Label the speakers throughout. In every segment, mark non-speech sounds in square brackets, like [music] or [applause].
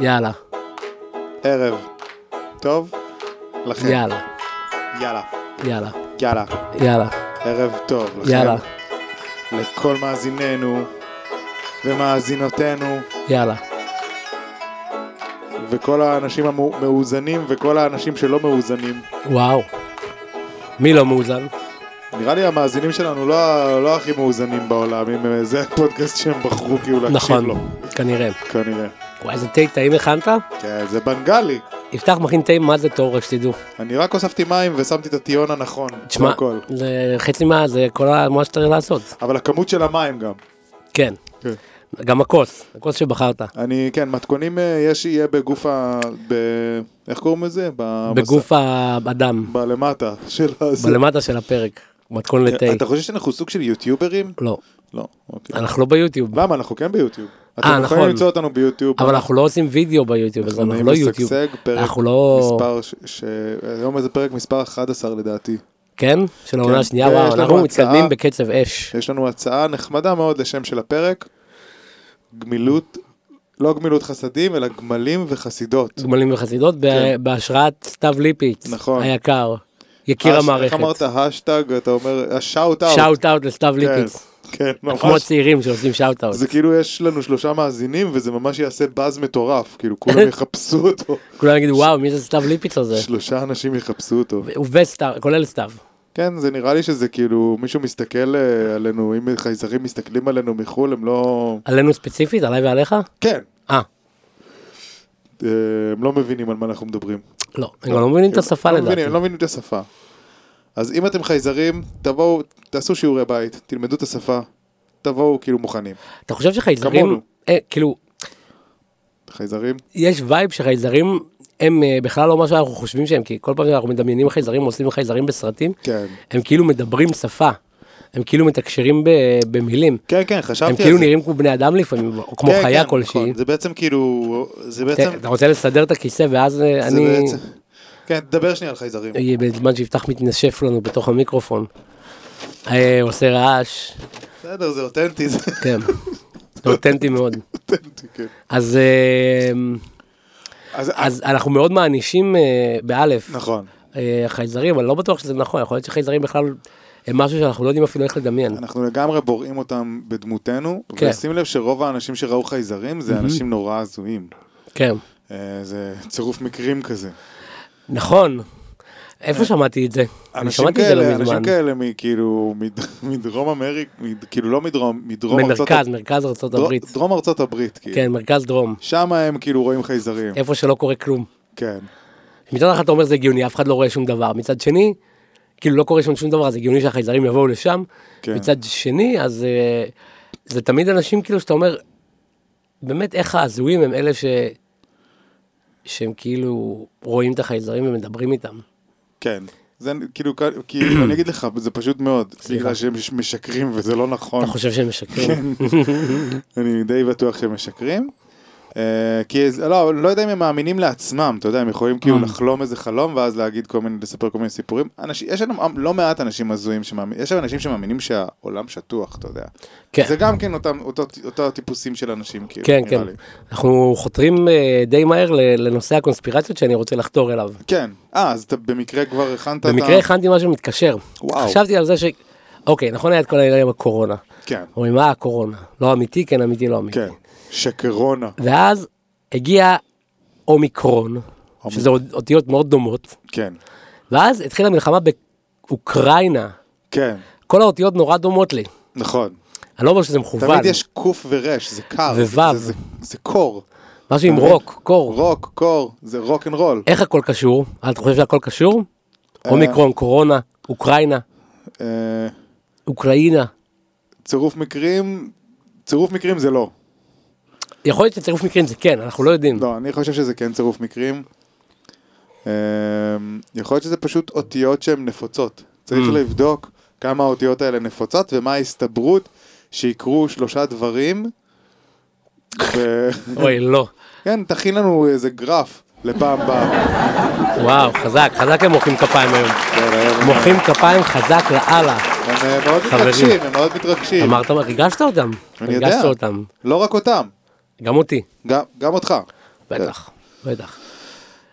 Speaker 1: יאללה,
Speaker 2: ערב. טוב? לכם.
Speaker 1: יאללה,
Speaker 2: יאללה.
Speaker 1: יאללה,
Speaker 2: יאללה.
Speaker 1: יאללה,
Speaker 2: ערב טוב. לכם.
Speaker 1: יאללה,
Speaker 2: לכל מאזיננו ומאזינותינו
Speaker 1: יאללה,
Speaker 2: וכל האנשים המאוזנים וכל האנשים שלא מאוזנים.
Speaker 1: וואו. מי לא מאוזן?
Speaker 2: נראה לי המאזינים שלנו לא, לא הכי מאוזנים בעולם, אם אה, זה הפודקאסט שהם בחרו כאילו להקשיב
Speaker 1: נכון,
Speaker 2: לו.
Speaker 1: כנראה.
Speaker 2: כנראה.
Speaker 1: וואי, איזה תה טעים הכנת?
Speaker 2: כן, זה בנגלי.
Speaker 1: יפתח מכין תה מה זה טוב, רק שתדעו.
Speaker 2: אני רק הוספתי מים ושמתי את הטיון הנכון.
Speaker 1: תשמע,
Speaker 2: זה הכל.
Speaker 1: זה חצי מה, זה כל ה- מה שצריך לעשות.
Speaker 2: אבל הכמות של המים גם.
Speaker 1: כן.
Speaker 2: כן.
Speaker 1: גם הכוס, הכוס שבחרת.
Speaker 2: אני, כן, מתכונים אה, יש, יהיה בגוף ה... ב... איך קוראים לזה? ב-
Speaker 1: בגוף האדם,
Speaker 2: בס- בלמטה [laughs] של הזה.
Speaker 1: בלמטה של הפרק, מתכון לתה.
Speaker 2: כן, אתה חושב שאנחנו סוג של יוטיוברים?
Speaker 1: לא,
Speaker 2: לא, אוקיי.
Speaker 1: אנחנו לא ביוטיוב,
Speaker 2: למה? אנחנו כן ביוטיוב. אתם
Speaker 1: אה,
Speaker 2: יכולים
Speaker 1: נכון.
Speaker 2: למצוא אותנו ביוטיוב.
Speaker 1: אבל אנחנו לא עושים וידאו ביוטיוב, אז אנחנו לא יוטיוב.
Speaker 2: משגשג, פרק
Speaker 1: אנחנו לא...
Speaker 2: מספר... ש- ש- היום זה פרק מספר 11 לדעתי.
Speaker 1: כן? של העונה
Speaker 2: כן.
Speaker 1: השנייה,
Speaker 2: ויש
Speaker 1: וואו,
Speaker 2: לנו
Speaker 1: אנחנו
Speaker 2: הצעה.
Speaker 1: מתקדמים בקצב אש.
Speaker 2: יש לנו הצעה נחמדה מאוד לשם של הפרק. גמילות, לא גמילות חסדים, אלא גמלים וחסידות.
Speaker 1: גמלים וחסידות, ב-
Speaker 2: כן.
Speaker 1: בהשראת סתיו ליפיץ,
Speaker 2: נכון.
Speaker 1: היקר, יקיר
Speaker 2: הש-
Speaker 1: המערכת.
Speaker 2: איך אמרת? השטג, אתה אומר, השאוט אאוט.
Speaker 1: שאוט אאוט לסתיו ליפיץ.
Speaker 2: כן,
Speaker 1: כמו
Speaker 2: ממש.
Speaker 1: הצעירים שעושים שאוט אאוט.
Speaker 2: זה כאילו יש לנו שלושה מאזינים וזה ממש יעשה באז מטורף,
Speaker 1: [laughs]
Speaker 2: כאילו כולם יחפשו אותו,
Speaker 1: כולם יגידו וואו, מי זה סתיו ליפיץ הזה?
Speaker 2: שלושה אנשים יחפשו אותו.
Speaker 1: ו- וסתיו, כולל סתיו.
Speaker 2: כן, זה נראה לי שזה כאילו, מישהו מסתכל אה, עלינו, אם חייזרים מסתכלים עלינו מחו"ל, הם לא...
Speaker 1: עלינו ספציפית, עליי ועליך?
Speaker 2: כן,
Speaker 1: אה,
Speaker 2: אה, הם לא מבינים על מה אנחנו מדברים.
Speaker 1: לא, הם גם לא מבינים את
Speaker 2: הם-
Speaker 1: השפה
Speaker 2: לא
Speaker 1: לדעתי.
Speaker 2: מבינים, הם לא מבינים את השפה. אז אם אתם חייזרים, תבואו, תעשו שיעורי בית, תלמדו את השפה, תבואו כאילו מוכנים.
Speaker 1: אתה חושב
Speaker 2: כמונו.
Speaker 1: שחייזרים, אה, כאילו,
Speaker 2: חייזרים?
Speaker 1: יש וייב שחייזרים הם אה, בכלל לא מה שאנחנו חושבים שהם, כי כל פעם שאנחנו מדמיינים חייזרים, עושים חייזרים בסרטים,
Speaker 2: כן.
Speaker 1: הם כאילו מדברים שפה. הם כאילו מתקשרים ב- במילים.
Speaker 2: כן, כן, חשבתי
Speaker 1: הם
Speaker 2: על זה.
Speaker 1: כאילו נראים כמו בני אדם לפעמים, או כמו
Speaker 2: כן,
Speaker 1: חיה
Speaker 2: כן,
Speaker 1: כלשהי. כן,
Speaker 2: נכון. זה בעצם כאילו, זה בעצם,
Speaker 1: ת- אתה רוצה לסדר את הכיסא ואז אה,
Speaker 2: זה
Speaker 1: אני...
Speaker 2: בעצם, כן, תדבר שנייה על חייזרים.
Speaker 1: אה, בזמן שיפתח מתנשף לנו בתוך המיקרופון. אה, עושה רעש,
Speaker 2: בסדר, זה אותנטי, זה [laughs]
Speaker 1: כן. זה אותנטי מאוד.
Speaker 2: אותנטי, כן.
Speaker 1: אז אה,
Speaker 2: אז,
Speaker 1: אז אנחנו מאוד מענישים אה, באלף.
Speaker 2: נכון.
Speaker 1: אה, חייזרים, אני לא בטוח שזה נכון, יכול להיות שחייזרים בכלל הם משהו שאנחנו לא יודעים אפילו איך לדמיין.
Speaker 2: אנחנו לגמרי בוראים אותם בדמותנו,
Speaker 1: כן.
Speaker 2: ושים לב שרוב האנשים שראו חייזרים זה אנשים נורא הזויים.
Speaker 1: כן,
Speaker 2: אה, זה צירוף מקרים כזה.
Speaker 1: נכון. איפה שמעתי את זה? אני
Speaker 2: אה, אנשים
Speaker 1: שמעתי את זה
Speaker 2: כאלה,
Speaker 1: לא
Speaker 2: אנשים
Speaker 1: מזמן.
Speaker 2: כאלה מכאילו, מד- [laughs] מדרום אמריקה, מד- כאילו לא מדרום, מדרום ארצות
Speaker 1: במרכז, מרכז ארצות
Speaker 2: דרום-
Speaker 1: הברית.
Speaker 2: דרום ארצות הברית, כאילו.
Speaker 1: כן, מרכז דרום.
Speaker 2: שם הם כאילו רואים חייזרים,
Speaker 1: איפה שלא קורה כלום.
Speaker 2: כן.
Speaker 1: מצד אחד אתה אומר זה הגיוני, אף אחד לא רואה שום דבר. מצד שני, כאילו לא קורה שם שום דבר, אז הגיוני שהחייזרים יבואו לשם.
Speaker 2: כן.
Speaker 1: מצד שני, אז אה, זה תמיד אנשים כאילו שאתה אומר, באמת איך ההזויים הם אלה ש... שהם כאילו רואים את החייזרים ומדברים איתם.
Speaker 2: כן. זה כאילו, כ- כאילו, אני אגיד לך, זה פשוט מאוד, בגלל שהם משקרים וזה לא נכון. כן,
Speaker 1: אתה חושב שהם משקרים?
Speaker 2: אני די בטוח שהם משקרים. אה, כי זה- לא, אני לא יודע אם הם מאמינים לעצמם, אתה יודע, הם יכולים כאילו
Speaker 1: נכון.
Speaker 2: לחלום איזה חלום ואז להגיד כל מיני, לספר כל מיני סיפורים. אנשים, יש לנו לא מעט אנשים הזויים שמאמינים, יש שם אנשים שמאמינים שהעולם שטוח, אתה יודע.
Speaker 1: כן.
Speaker 2: זה גם כן אותם, אותו, אותו טיפוסים של אנשים, כאילו,
Speaker 1: כן,
Speaker 2: נראה
Speaker 1: כן.
Speaker 2: לי.
Speaker 1: אנחנו חותרים אה, די מהר ל- לנושא הקונספירציות שאני רוצה לחתור אליו.
Speaker 2: כן. אה, אז אתה במקרה כבר הכנת את ה...
Speaker 1: במקרה הכנתי משהו מתקשר.
Speaker 2: וואו.
Speaker 1: חשבתי על זה ש... אוקיי, נכון היה את כל העניין עם הקורונה.
Speaker 2: כן,
Speaker 1: אומרים, מה הקורונה? לא אמיתי, כן אמיתי, לא אמיתי.
Speaker 2: כן. שקרונה.
Speaker 1: ואז הגיע אומיקרון, שזה עוד- אותיות מאוד דומות,
Speaker 2: כן.
Speaker 1: ואז התחילה מלחמה באוקראינה.
Speaker 2: כן.
Speaker 1: כל האותיות נורא דומות לי.
Speaker 2: נכון.
Speaker 1: אני לא אומר שזה מכוון.
Speaker 2: תמיד יש קוף ורש, זה קר.
Speaker 1: ווו.
Speaker 2: זה- זה- זה קור.
Speaker 1: משהו עם
Speaker 2: תמיד.
Speaker 1: רוק, קור.
Speaker 2: רוק, קור, זה רוק אנד רול.
Speaker 1: איך הכל קשור? אה, אתה חושב שהכל קשור? אומיקרון, קורונה, אוקראינה,
Speaker 2: אה,
Speaker 1: אוקראינה.
Speaker 2: צירוף מקרים, צירוף מקרים זה לא.
Speaker 1: יכול להיות שצירוף מקרים זה כן, אנחנו לא יודעים.
Speaker 2: לא, אני חושב שזה כן צירוף מקרים. אמ, יכול להיות שזה פשוט אותיות שהן נפוצות.
Speaker 1: Mm.
Speaker 2: צריך לבדוק כמה האותיות האלה נפוצות ומה ההסתברות שיקרו שלושה דברים.
Speaker 1: [laughs]
Speaker 2: ו-
Speaker 1: אוי, לא.
Speaker 2: כן, תכין לנו איזה גרף
Speaker 1: [laughs]
Speaker 2: לפעם הבאה.
Speaker 1: וואו, חזק, חזק הם מוחאים כפיים היום.
Speaker 2: כן, היום הם-
Speaker 1: מוחאים כפיים חזק לאללה.
Speaker 2: הם אה, מאוד
Speaker 1: חברים.
Speaker 2: מתרגשים, הם מאוד מתרגשים.
Speaker 1: אמרת, ריגשת אותם.
Speaker 2: כן. אני יודע.
Speaker 1: ריגשת אותם.
Speaker 2: לא רק אותם,
Speaker 1: גם אותי.
Speaker 2: גם- גם אותך.
Speaker 1: בטח, בטח.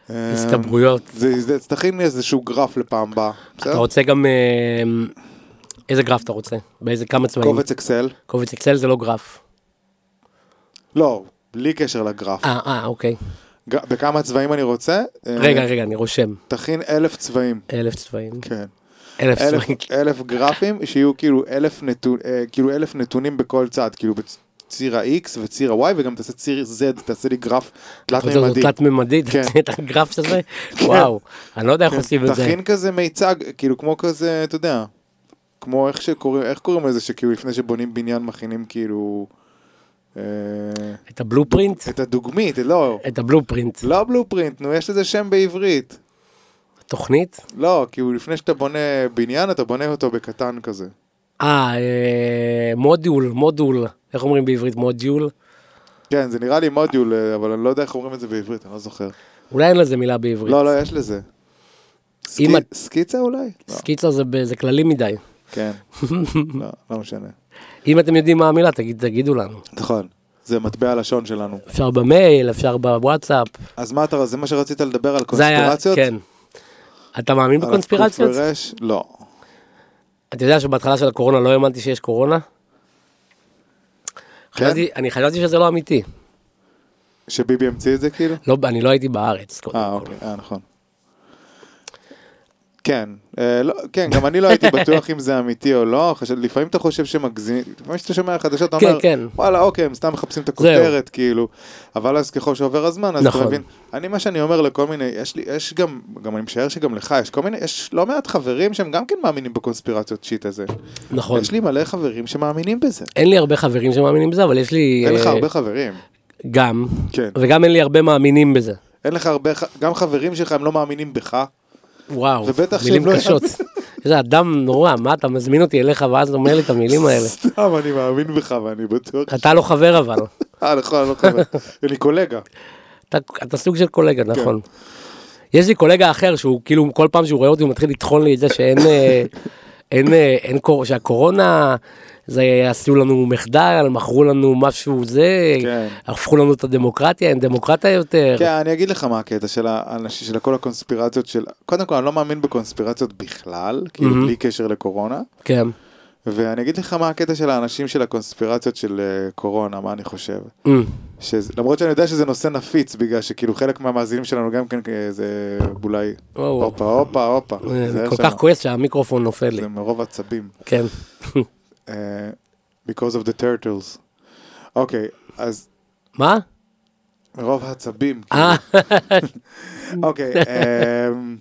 Speaker 2: אה,
Speaker 1: הסתברויות.
Speaker 2: זה, זה, אז תכין לי איזשהו גרף לפעם הבאה.
Speaker 1: אתה
Speaker 2: בסדר?
Speaker 1: רוצה גם... אה, איזה גרף אתה רוצה? באיזה כמה צבעים?
Speaker 2: קובץ אקסל.
Speaker 1: קובץ אקסל זה לא גרף.
Speaker 2: לא, בלי קשר לגרף.
Speaker 1: אה, אה, אוקיי.
Speaker 2: ג- בכמה צבעים אני רוצה? אה,
Speaker 1: רגע, רגע, אני רושם.
Speaker 2: תכין אלף צבעים.
Speaker 1: אלף צבעים.
Speaker 2: כן.
Speaker 1: אלף
Speaker 2: אלף,
Speaker 1: צבעים.
Speaker 2: אלף גרפים שיהיו כאילו אלף, נתון, אה, כאילו אלף נתונים בכל צד, כאילו בציר ה-X וציר ה-Y וגם תעשה ציר Z, תעשה לי גרף תלת
Speaker 1: אתה רוצה לעשות
Speaker 2: מימדי.
Speaker 1: תלת ממדית?
Speaker 2: כן.
Speaker 1: את הגרף הזה? וואו, אני לא יודע איך עושים את זה.
Speaker 2: תכין כזה מיצג, כאילו כמו כזה, אתה יודע, כמו איך שקוראים, איך קוראים לזה שכאילו לפני שבונים בניין מכינים כאילו... אה,
Speaker 1: את הבלופרינט?
Speaker 2: את הדוגמית, לא,
Speaker 1: את הבלופרינט.
Speaker 2: לא הבלופרינט, נו, יש לזה שם בעברית.
Speaker 1: תוכנית?
Speaker 2: לא, כאילו לפני שאתה בונה בניין, אתה בונה אותו בקטן כזה.
Speaker 1: אה, אה, מודול, מודול. איך אומרים בעברית מודיול?
Speaker 2: כן, זה נראה לי מודיול, אה, אבל אני לא יודע איך אומרים את זה בעברית, אני לא זוכר.
Speaker 1: אולי אין לזה מילה בעברית.
Speaker 2: לא, לא, יש לזה. סקי-
Speaker 1: אם את-
Speaker 2: סקיצה אולי? לא,
Speaker 1: סקיצה זה ב- זה כללי מדי. [laughs]
Speaker 2: כן. לא, לא משנה.
Speaker 1: אם אתם יודעים מה המילה, תגיד- תגידו לנו.
Speaker 2: נכון. זה מטבע הלשון שלנו.
Speaker 1: אפשר במייל, אפשר בוואטסאפ.
Speaker 2: אז מה אתה, זה מה שרצית לדבר על
Speaker 1: זה היה-
Speaker 2: קונספירציות?
Speaker 1: כן. אתה מאמין
Speaker 2: על
Speaker 1: בקונספירציות?
Speaker 2: הקוף ברש? לא.
Speaker 1: אתה יודע שבהתחלה של הקורונה לא האמנתי שיש קורונה?
Speaker 2: כן.
Speaker 1: חשבתי- אני חשבתי שזה לא אמיתי.
Speaker 2: שביבי המציא את זה כאילו?
Speaker 1: לא, אני לא הייתי בארץ,
Speaker 2: אה,
Speaker 1: קודם כל.
Speaker 2: אוקיי, אה, נכון. כן, אה, לא, כן, גם אני לא הייתי בטוח אם זה אמיתי או לא, חשב- לפעמים אתה חושב שמגזים, לפעמים כשאתה שומע חדשות, אתה
Speaker 1: כן,
Speaker 2: אומר,
Speaker 1: כן.
Speaker 2: וואלה, אוקיי, הם סתם מחפשים את הכותרת, כאילו, אבל אז ככל שעובר הזמן, אז אתה
Speaker 1: נכון.
Speaker 2: מבין, אני, מה שאני אומר לכל מיני, יש לי, יש גם, גם אני משער שגם לך, יש כל מיני, יש לא מעט חברים שהם גם כן מאמינים בקונספירציות שיט הזה,
Speaker 1: נכון.
Speaker 2: יש לי מלא חברים שמאמינים בזה,
Speaker 1: אין לי הרבה חברים שמאמינים בזה, אבל יש לי...
Speaker 2: אין לך
Speaker 1: אה,
Speaker 2: הרבה חברים,
Speaker 1: גם,
Speaker 2: כן,
Speaker 1: וגם אין לי הרבה מאמינים בזה.
Speaker 2: אין לך הרבה, ח- גם חברים שלך הם לא מאמינים בך, [laughs]
Speaker 1: וואו,
Speaker 2: ובטח
Speaker 1: מילים
Speaker 2: שהם לא- [laughs]
Speaker 1: קשות. איזה אדם נורא, מה אתה מזמין אותי אליך ואז אומר לי את המילים האלה.
Speaker 2: סתם, אני מאמין בך ואני בטוח
Speaker 1: אתה לא חבר אבל,
Speaker 2: אה, נכון, אני לא
Speaker 1: [laughs]
Speaker 2: חבר. אני קולגה.
Speaker 1: כן. אתה, אתה סוג של קולגה,
Speaker 2: כן.
Speaker 1: נכון. יש לי קולגה אחר שהוא כאילו כל פעם שהוא רואה אותי הוא מתחיל לטחון לי את זה שאין, אה, אין, אה, אין, קור- שהקורונה, זה עשו לנו מחדל, מכרו לנו משהו זה,
Speaker 2: כן.
Speaker 1: הפכו לנו את הדמוקרטיה, אין דמוקרטיה יותר.
Speaker 2: כן, אני אגיד לך מה הקטע של האנשים, של כל הקונספירציות של... קודם כל, אני לא מאמין בקונספירציות בכלל, כאילו
Speaker 1: מהמם.
Speaker 2: בלי קשר לקורונה.
Speaker 1: כן.
Speaker 2: ואני אגיד לך מה הקטע של האנשים של הקונספירציות של אה, קורונה, מה אני חושב.
Speaker 1: Mm.
Speaker 2: שזה- למרות שאני יודע שזה נושא נפיץ, בגלל שכאילו חלק מהמאזינים שלנו גם כן אה, זה אולי...
Speaker 1: וואו.
Speaker 2: הופה, הופה, הופה. אוקיי.
Speaker 1: אני
Speaker 2: זה היה
Speaker 1: אה, כל
Speaker 2: שם-
Speaker 1: כך כועס שהמיקרופון נופל לי.
Speaker 2: זה מרוב עצבים.
Speaker 1: כן.
Speaker 2: אה, Because of the turtles. אוקיי, אז
Speaker 1: מה?
Speaker 2: מרוב העצבים.
Speaker 1: אה, [laughs]
Speaker 2: אוקיי, אמ,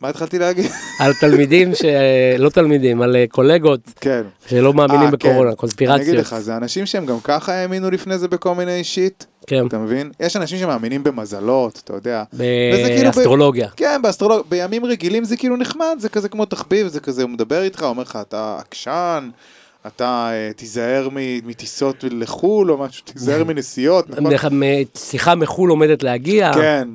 Speaker 2: מה
Speaker 1: [laughs]
Speaker 2: התחלתי להגיד?
Speaker 1: על תלמידים שלא תלמידים, על אה, קולגות
Speaker 2: כן.
Speaker 1: שלא מאמינים
Speaker 2: אה,
Speaker 1: בקורונה,
Speaker 2: כן.
Speaker 1: קונספירציות.
Speaker 2: אני אגיד לך, זה אנשים שהם גם ככה האמינו לפני זה בכל מיני שיט,
Speaker 1: כן,
Speaker 2: אתה מבין? יש אנשים שמאמינים במזלות, אתה יודע. וזה כאילו ב-
Speaker 1: באסטרולוגיה.
Speaker 2: כן, באסטרולוג... בימים רגילים זה כאילו נחמד, זה כזה כמו תחביב, זה כזה, הוא מדבר איתך, אומר לך, אתה עקשן, אתה אה, תיזהר מ- מטיסות לחו"ל או משהו,
Speaker 1: [laughs]
Speaker 2: תיזהר מנסיעות, נכון?
Speaker 1: דרך אגב, מ- שיחה מחו"ל עומדת להגיע.
Speaker 2: כן.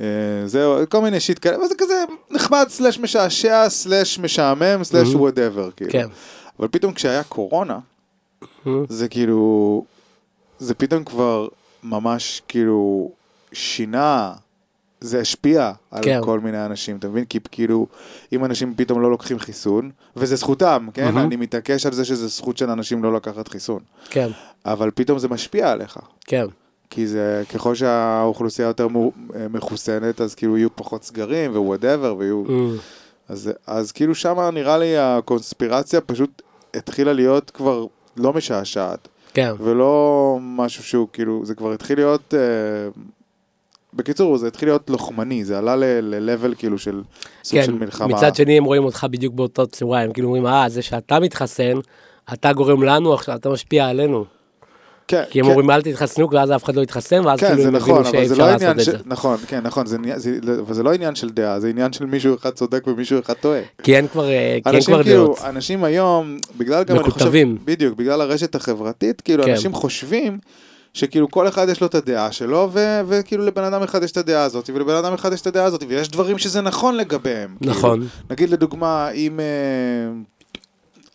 Speaker 2: אה, זהו, כל מיני שיט כאלה, וזה כזה נחמד, סלאש משעשע, סלאש משעמם, סלאש וואטאבר, כאילו.
Speaker 1: כן. Mm-hmm.
Speaker 2: אבל פתאום כשהיה קורונה,
Speaker 1: מהמם.
Speaker 2: זה כאילו, זה פתאום כבר ממש כאילו שינה, זה השפיע על
Speaker 1: כן.
Speaker 2: כל מיני אנשים, אתה מבין? כי כאילו, אם אנשים פתאום לא לוקחים חיסון, וזה זכותם,
Speaker 1: Mm-hmm.
Speaker 2: כן? אני מתעקש על זה שזה זכות של אנשים לא לקחת חיסון,
Speaker 1: כן,
Speaker 2: אבל פתאום זה משפיע עליך.
Speaker 1: כן,
Speaker 2: כי זה, ככל שהאוכלוסייה יותר מו- מחוסנת, אז כאילו יהיו פחות סגרים ווואטאבר, ויהיו...
Speaker 1: אמ,
Speaker 2: אז, אז כאילו שמה נראה לי הקונספירציה פשוט התחילה להיות כבר לא משעשעת,
Speaker 1: כן.
Speaker 2: ולא משהו שהוא כאילו, זה כבר התחיל להיות... אה, בקיצור, זה התחיל להיות לוחמני, זה עלה ל-level כאילו של סוג
Speaker 1: כן,
Speaker 2: של מלחמה.
Speaker 1: מצד שני הם רואים אותך בדיוק באותה צורה, הם כאילו אומרים, אה, זה שאתה מתחסן, אתה גורם לנו עכשיו, אתה משפיע עלינו.
Speaker 2: כן,
Speaker 1: כי הם
Speaker 2: כן.
Speaker 1: אומרים, אל תתחסנו, ואז אף אחד לא יתחסן, ואז
Speaker 2: כן,
Speaker 1: כאילו
Speaker 2: זה
Speaker 1: הם
Speaker 2: נכון,
Speaker 1: הבינו
Speaker 2: אבל זה
Speaker 1: שאפשר
Speaker 2: לא
Speaker 1: לעשות
Speaker 2: עניין
Speaker 1: את
Speaker 2: ש...
Speaker 1: זה.
Speaker 2: נכון, כן, נכון, זה עניין- זה- אבל זה לא עניין של דעה, זה עניין של מישהו אחד צודק ומישהו אחד טועה.
Speaker 1: כי אין כבר אה, כי אין
Speaker 2: אנשים
Speaker 1: כבר
Speaker 2: כאילו,
Speaker 1: דעות.
Speaker 2: אנשים היום, בגלל גם, אני חושב-
Speaker 1: מקוטבים.
Speaker 2: בדיוק, בגלל הרשת החברתית, כאילו
Speaker 1: כן.
Speaker 2: אנשים חושבים שכאילו כל אחד יש לו את הדעה שלו, ו- וכאילו לבן אדם אחד יש את הדעה הזאת, ולבן אדם אחד יש את הדעה הזאת, ויש דברים שזה נכון לגביהם. כאילו.
Speaker 1: נכון.
Speaker 2: נגיד לדוגמה, אם... אה,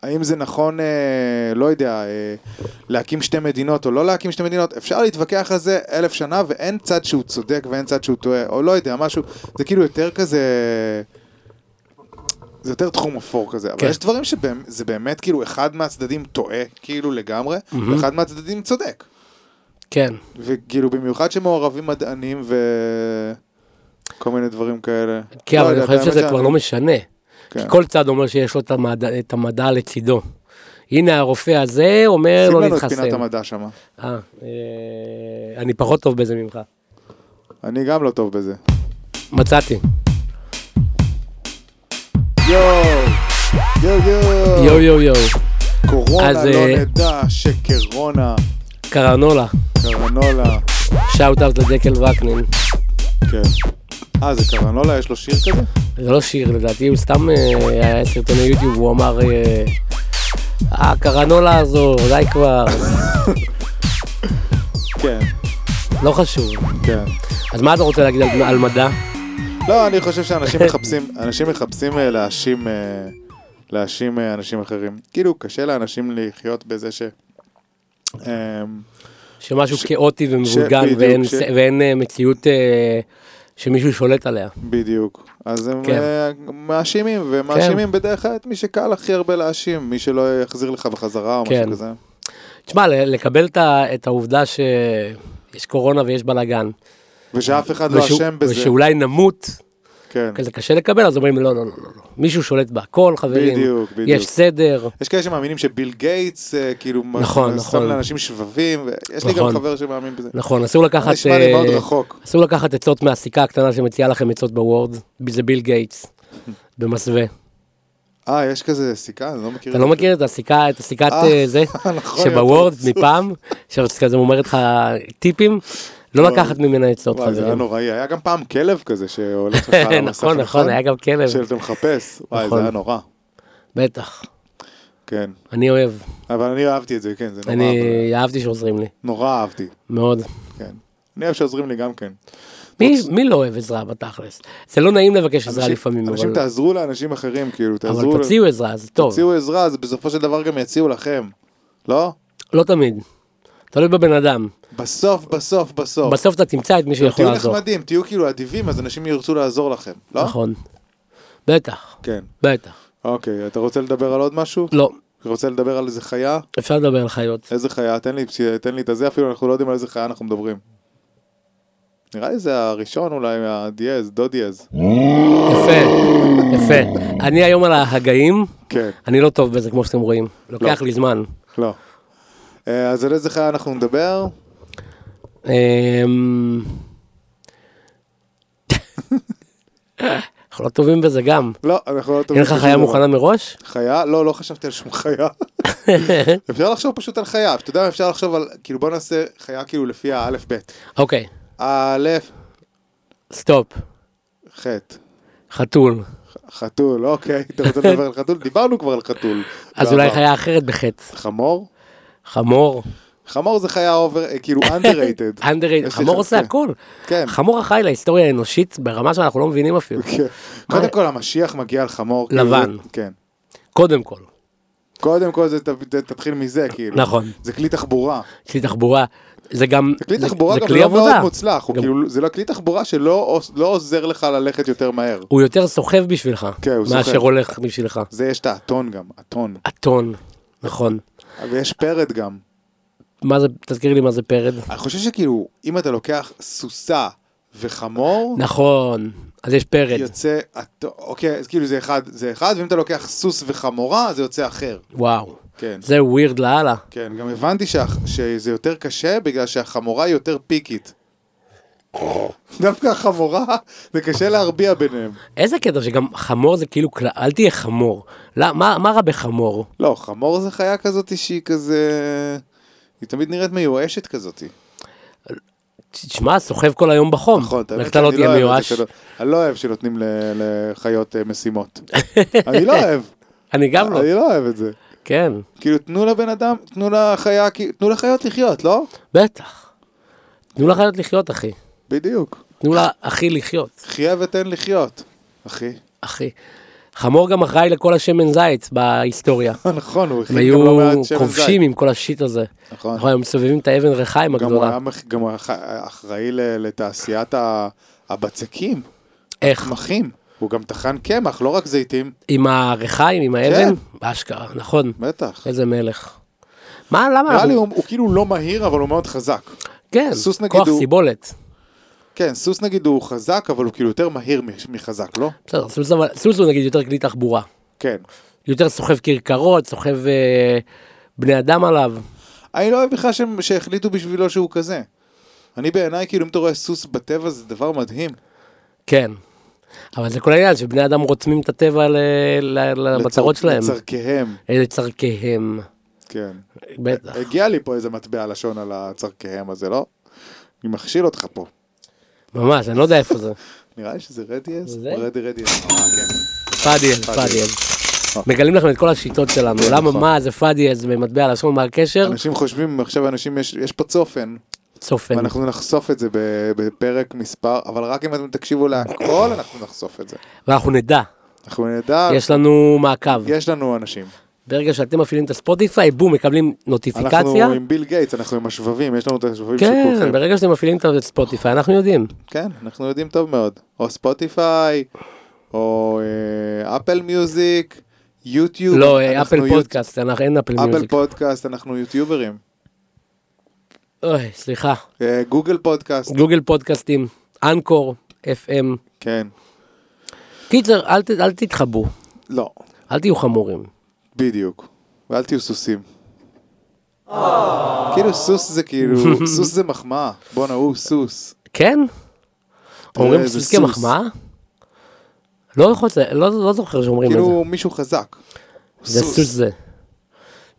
Speaker 2: האם זה נכון, אה, לא יודע, אה, להקים שתי מדינות או לא להקים שתי מדינות, אפשר להתווכח על זה אלף שנה ואין צד שהוא צודק ואין צד שהוא טועה, או לא יודע, משהו, זה כאילו יותר כזה... זה יותר תחום אפור כזה, אבל
Speaker 1: כן.
Speaker 2: יש דברים שזה באמת כאילו אחד מהצדדים טועה כאילו לגמרי, ואחד מהצדדים צודק.
Speaker 1: כן.
Speaker 2: וכאילו במיוחד שמעורבים מדענים וכל מיני דברים כאלה.
Speaker 1: כן,
Speaker 2: לא
Speaker 1: אבל אני
Speaker 2: יודע,
Speaker 1: חושב
Speaker 2: את האמת
Speaker 1: שזה
Speaker 2: שאני-
Speaker 1: כבר לא משנה.
Speaker 2: כן.
Speaker 1: כי כל צד אומר שיש לו את המדע- את המדע לצידו. הנה הרופא הזה אומר
Speaker 2: שים
Speaker 1: לא
Speaker 2: לנו את פינת
Speaker 1: להתחסן.
Speaker 2: המדע שמה.
Speaker 1: אה, אה, אני פחות טוב בזה ממך.
Speaker 2: אני גם לא טוב בזה.
Speaker 1: מצאתי.
Speaker 2: יואו! יואו יואו!
Speaker 1: יואו יואו יואו.
Speaker 2: קורונה
Speaker 1: אז,
Speaker 2: לא
Speaker 1: אה,
Speaker 2: נדע שקרונה,
Speaker 1: קרנולה.
Speaker 2: קרנולה.
Speaker 1: שאוט אאוט לדקל וקנין.
Speaker 2: כן. אה, זה קרנולה? יש לו שיר כזה?
Speaker 1: זה לא שיר לדעתי, הוא סתם אה, היה סרטוני יוטיוב, הוא אמר, אה, הקרנולה הזו, די כבר,
Speaker 2: כן,
Speaker 1: לא חשוב.
Speaker 2: כן.
Speaker 1: אז מה אתה רוצה להגיד על, על מדע?
Speaker 2: לא, אני חושב
Speaker 1: [laughs]
Speaker 2: שאנשים מחפשים, אנשים מחפשים אה, להאשים, אה, להאשים אה, אנשים אחרים. כאילו, קשה לאנשים לחיות בזה ש... אמ,
Speaker 1: שמשהו
Speaker 2: ש-
Speaker 1: כאוטי ומבולגן
Speaker 2: שבדיוק,
Speaker 1: ואין,
Speaker 2: ש-
Speaker 1: ש... ואין אה, מציאות אה, שמישהו שולט עליה.
Speaker 2: בדיוק. אז הם
Speaker 1: כן.
Speaker 2: אה, מאשימים, ומאשימים בדרך כלל את מי שקל הכי הרבה להאשים, מי שלא יחזיר לך בחזרה או משהו
Speaker 1: כן.
Speaker 2: כזה.
Speaker 1: תשמע, ל- לקבל את, ה- את העובדה שיש קורונה ויש בלאגן,
Speaker 2: ושאף אחד לא
Speaker 1: ושאו-
Speaker 2: אשם בזה.
Speaker 1: ושאולי נמות,
Speaker 2: כן.
Speaker 1: כזה קשה לקבל, אז אומרים לא, לא, לא, לא, לא. מישהו שולט בהכל, חברים,
Speaker 2: בדיוק, בדיוק.
Speaker 1: יש סדר.
Speaker 2: יש כאלה שמאמינים שביל גייטס, אה, כאילו, מ-
Speaker 1: נכון,
Speaker 2: שם
Speaker 1: נכון.
Speaker 2: לאנשים שבבים, ויש לי גם
Speaker 1: נכון.
Speaker 2: חבר שמאמין בזה.
Speaker 1: נכון, אסור לקחת...
Speaker 2: נשמע לי מאוד
Speaker 1: אה,
Speaker 2: רחוק.
Speaker 1: אסור לקחת עצות מהסיכה הקטנה שמציעה לכם עצות בוורד, זה ביל גייטס, במסווה.
Speaker 2: אה, יש כזה סיכה? אני לא מכיר.
Speaker 1: אתה
Speaker 2: את
Speaker 1: לא
Speaker 2: זה.
Speaker 1: מכיר את הסיכה, את הסיכת
Speaker 2: אה,
Speaker 1: אה, זה,
Speaker 2: [laughs] נכון,
Speaker 1: שבוורד
Speaker 2: יפה.
Speaker 1: מפעם, שכזה אומרת לך טיפים, לא
Speaker 2: וואי.
Speaker 1: לקחת ממנה עצות
Speaker 2: אה, וואי, זה היה
Speaker 1: חברים.
Speaker 2: נוראי, היה גם פעם כלב כזה
Speaker 1: [laughs]
Speaker 2: שהולך לך על המסך.
Speaker 1: נכון, נכון, היה גם כלב,
Speaker 2: שאתה מחפש, וואי, זה
Speaker 1: נכון.
Speaker 2: היה נורא,
Speaker 1: בטח,
Speaker 2: כן.
Speaker 1: אני אוהב,
Speaker 2: אבל אני אהבתי את זה, כן, זה נורא,
Speaker 1: אני
Speaker 2: אבל-
Speaker 1: אהבתי שעוזרים לי,
Speaker 2: נורא אהבתי,
Speaker 1: מאוד.
Speaker 2: כן. אני אוהב שעוזרים לי גם כן.
Speaker 1: מי- מי לא אוהב עזרה בתכלס? זה לא נעים לבקש עזרה
Speaker 2: אנשים-
Speaker 1: לפעמים,
Speaker 2: אנשים
Speaker 1: אבל-
Speaker 2: תעזרו לאנשים אחרים, כאילו,
Speaker 1: אבל
Speaker 2: תעזרו,
Speaker 1: תוציאו עזרה, זה טוב,
Speaker 2: תוציאו עזרה, אז בסופו של דבר גם יציעו לכם, לא?
Speaker 1: לא תמיד, תלוי בבן אדם,
Speaker 2: בסוף, בסוף, בסוף.
Speaker 1: בסוף אתה תמצא את מי שיכול
Speaker 2: תהיו
Speaker 1: לעזור,
Speaker 2: נחמדים, תהיו כאילו אדיבים, אז אנשים ירצו לעזור לכם, לא?
Speaker 1: נכון, בטח.
Speaker 2: כן.
Speaker 1: בטח.
Speaker 2: אוקיי, אתה רוצה לדבר על עוד משהו?
Speaker 1: לא,
Speaker 2: רוצה לדבר על איזה חיה?
Speaker 1: אפשר לדבר על חיות.
Speaker 2: איזה חיה? תן לי, תן לי את הזה, אפילו אנחנו לא יודעים על איזה חיה אנחנו מדברים. נראה לי זה הראשון אולי, הדיאז, דו דיאז.
Speaker 1: יפה, יפה. אני היום על ההגאים,
Speaker 2: כן,
Speaker 1: אני לא טוב בזה כמו שאתם רואים. לוקח
Speaker 2: לא.
Speaker 1: לי זמן.
Speaker 2: לא. אה, אז על איזה חיה אנחנו נדבר?
Speaker 1: אמ, [laughs] אנחנו לא טובים בזה גם.
Speaker 2: לא, אנחנו לא
Speaker 1: אין
Speaker 2: טובים.
Speaker 1: לך
Speaker 2: בשום
Speaker 1: חיה
Speaker 2: דבר.
Speaker 1: מוכנה מראש?
Speaker 2: חיה? לא, לא חשבתי על שום
Speaker 1: [laughs]
Speaker 2: חיה. אפשר לחשוב פשוט על חיה, אתה יודע, אפשר לחשוב על, כאילו בוא נעשה חיה כאילו לפי האלף-בית.
Speaker 1: אוקיי,
Speaker 2: האלף,
Speaker 1: סטופ.
Speaker 2: חטא.
Speaker 1: חתול.
Speaker 2: חתול, אוקיי, אתה רוצה לדבר על חתול? דיברנו כבר על חתול.
Speaker 1: אז
Speaker 2: בעבר.
Speaker 1: אולי חיה אחרת בחץ.
Speaker 2: חמור?
Speaker 1: חמור.
Speaker 2: חמור זה חיה אובר, אה,
Speaker 1: [laughs]
Speaker 2: כאילו underrated.
Speaker 1: אנדרי,
Speaker 2: יש
Speaker 1: חמור
Speaker 2: לי-
Speaker 1: עושה
Speaker 2: כן.
Speaker 1: הכל.
Speaker 2: כן.
Speaker 1: חמור אחראי להיסטוריה האנושית ברמה שאנחנו לא מבינים אפילו.
Speaker 2: כן. קודם כל המשיח מגיע על חמור. כאילו,
Speaker 1: לבן.
Speaker 2: זה- כן.
Speaker 1: קודם כל.
Speaker 2: קודם כל זה ת- ת- תתחיל מזה, כאילו.
Speaker 1: נכון.
Speaker 2: זה כלי תחבורה.
Speaker 1: יש לי תחבורה. זה גם...
Speaker 2: זה כלי
Speaker 1: זה-
Speaker 2: תחבורה
Speaker 1: זה
Speaker 2: גם
Speaker 1: כלי
Speaker 2: לא מאוד
Speaker 1: עבודה.
Speaker 2: מוצלח. הוא
Speaker 1: גם-
Speaker 2: כאילו, זה לא כלי תחבורה שלא עוש- לא עוזר לך ללכת יותר מהר.
Speaker 1: הוא יותר סוחב בשבילך,
Speaker 2: כן, הוא
Speaker 1: מאשר
Speaker 2: סוחב.
Speaker 1: הולך בשבילך.
Speaker 2: זה יש את האתון גם, אתון.
Speaker 1: אתון, נכון.
Speaker 2: ויש פרד גם.
Speaker 1: מה זה, תזכיר לי מה זה פרד.
Speaker 2: אני חושב שכאילו, אם אתה לוקח סוסה וחמור,
Speaker 1: נכון, אז יש פרד.
Speaker 2: יוצא, את- אוקיי, אז כאילו זה אחד, זה אחד, ואם אתה לוקח סוס וחמורה, זה יוצא אחר.
Speaker 1: וואו.
Speaker 2: כן.
Speaker 1: זה ווירד לאללה.
Speaker 2: כן, גם הבנתי שה- שזה יותר קשה בגלל שהחמורה היא יותר פיקית. דווקא החמורה, זה קשה להרביע ביניהם.
Speaker 1: איזה קטע שגם חמור זה כאילו, קלה- אל תהיה חמור. לא, מה מה רע בחמור?
Speaker 2: לא, חמור זה חיה כזאת שהיא כזה... היא תמיד נראית מיואשת כזאת.
Speaker 1: תשמע, סוחב כל היום בחום.
Speaker 2: נכון, האמת
Speaker 1: ואתה לא
Speaker 2: שאני
Speaker 1: תהיה
Speaker 2: אוהב את
Speaker 1: מיואש.
Speaker 2: זה שלא- אני לא אוהב שנותנים ל- לחיות אה,
Speaker 1: [laughs]
Speaker 2: משימות. אני לא אוהב,
Speaker 1: אני גם לא.
Speaker 2: אני לא אוהב את זה.
Speaker 1: כן,
Speaker 2: כאילו, תנו לבן אדם, תנו לחיה, כי- תנו לחיות לחיות, לא?
Speaker 1: בטח. תנו לחיות לחיות, אחי.
Speaker 2: בדיוק.
Speaker 1: תנו לה, אחי, לחיות.
Speaker 2: חיה ותן לחיות, אחי. [laughs]
Speaker 1: אחי. חמור גם אחראי לכל השמן זית בהיסטוריה.
Speaker 2: נכון, הוא
Speaker 1: הם
Speaker 2: הכין גם לא
Speaker 1: היו
Speaker 2: מעט שמן זית.
Speaker 1: כובשים עם כל השיט הזה.
Speaker 2: נכון.
Speaker 1: נכון, הם מסובבים את האבן ריחיים
Speaker 2: גם הוא
Speaker 1: הגדולה.
Speaker 2: היה מח- גם הוא היה ח- אחראי ל- לתעשיית ה- הבצקים,
Speaker 1: איך?
Speaker 2: צמחים. הוא גם טחן קמח, לא רק זיתים,
Speaker 1: עם הריחיים, עם האבן?
Speaker 2: כן.
Speaker 1: באשכרה, נכון.
Speaker 2: בטח.
Speaker 1: איזה מלך. מה, למה?
Speaker 2: נראה לי
Speaker 1: אנחנו-
Speaker 2: הוא הוא כאילו לא מהיר, אבל הוא מאוד חזק.
Speaker 1: כן,
Speaker 2: סוס נגיד
Speaker 1: כוח
Speaker 2: הוא-
Speaker 1: סיבולת.
Speaker 2: כן, סוס נגיד הוא חזק, אבל הוא כאילו יותר מהיר מ- מחזק, לא?
Speaker 1: בסדר, סוס אבל- סוס הוא נגיד יותר כלי תחבורה.
Speaker 2: כן.
Speaker 1: יותר סוחב כרכרות, סוחב אה, בני אדם עליו.
Speaker 2: אני לא אוהב בכלל שהם- שהחליטו בשבילו שהוא כזה. אני בעיניי, כאילו, אם אתה רואה סוס בטבע, זה דבר מדהים.
Speaker 1: כן. אבל זה כל העניין שבני אדם רוצמים את הטבע ל- ל- למטרות
Speaker 2: לצר-
Speaker 1: שלהם.
Speaker 2: לצורכיהם,
Speaker 1: אלה צורכיהם.
Speaker 2: כן.
Speaker 1: בטח.
Speaker 2: הגיע לי פה איזה מטבע לשון על הצורכיהם הזה, לא? אני מכשיל אותך פה.
Speaker 1: ממש, אני לא יודע איפה זה.
Speaker 2: נראה לי שזה רדיאס?
Speaker 1: זה?
Speaker 2: רדי רדיאס. אה, כן.
Speaker 1: פאדיאז, פאדיאז. מגלים לכם את כל השיטות שלנו. למה,
Speaker 2: אה. נכון.
Speaker 1: מה זה פאדיאז ומטבע לשון, מה הקשר?
Speaker 2: אנשים חושבים, עכשיו אנשים, יש- יש פה צופן,
Speaker 1: צופן.
Speaker 2: ואנחנו נחשוף את זה ב- בפרק מספר, אבל רק אם אתם תקשיבו להכל, אנחנו נחשוף את זה.
Speaker 1: ואנחנו נדע.
Speaker 2: אנחנו נדע,
Speaker 1: יש לנו מעקב.
Speaker 2: יש לנו אנשים.
Speaker 1: ברגע שאתם מפעילים את הספוטיפיי, בום, מקבלים נוטיפיקציה.
Speaker 2: אנחנו עם ביל גייטס, אנחנו עם השבבים, יש לנו את השבבים של
Speaker 1: כן,
Speaker 2: כולכם.
Speaker 1: ברגע שאתם מפעילים את הספוטיפיי, אנחנו יודעים.
Speaker 2: כן, אנחנו יודעים טוב מאוד. או ספוטיפיי, או אה, אפל מיוזיק, יוטיוב.
Speaker 1: לא, אה,
Speaker 2: אנחנו
Speaker 1: אפל
Speaker 2: יוט-
Speaker 1: פודקאסט, אנחנו- אין אפל
Speaker 2: אפל
Speaker 1: מיוזיק.
Speaker 2: פודקאסט, אנחנו יוטיוברים.
Speaker 1: אוי, סליחה.
Speaker 2: אה, גוגל פודקאסט,
Speaker 1: גוגל פודקאסטים, אנקור, FM.
Speaker 2: כן.
Speaker 1: קיצר, אל ת- אל תתחבאו,
Speaker 2: לא,
Speaker 1: אל תהיו חמורים.
Speaker 2: בדיוק. ואל תהיו סוסים. כאילו סוס זה
Speaker 1: [laughs]
Speaker 2: כאילו, סוס זה מחמאה. בואנה, הוא סוס. אה,
Speaker 1: כן? אומרים
Speaker 2: איזה
Speaker 1: סוס
Speaker 2: סוס.
Speaker 1: כמחמאה? לא יכול- לא לא זוכר שאומרים את זה.
Speaker 2: כאילו מישהו חזק.
Speaker 1: זה סוס זה.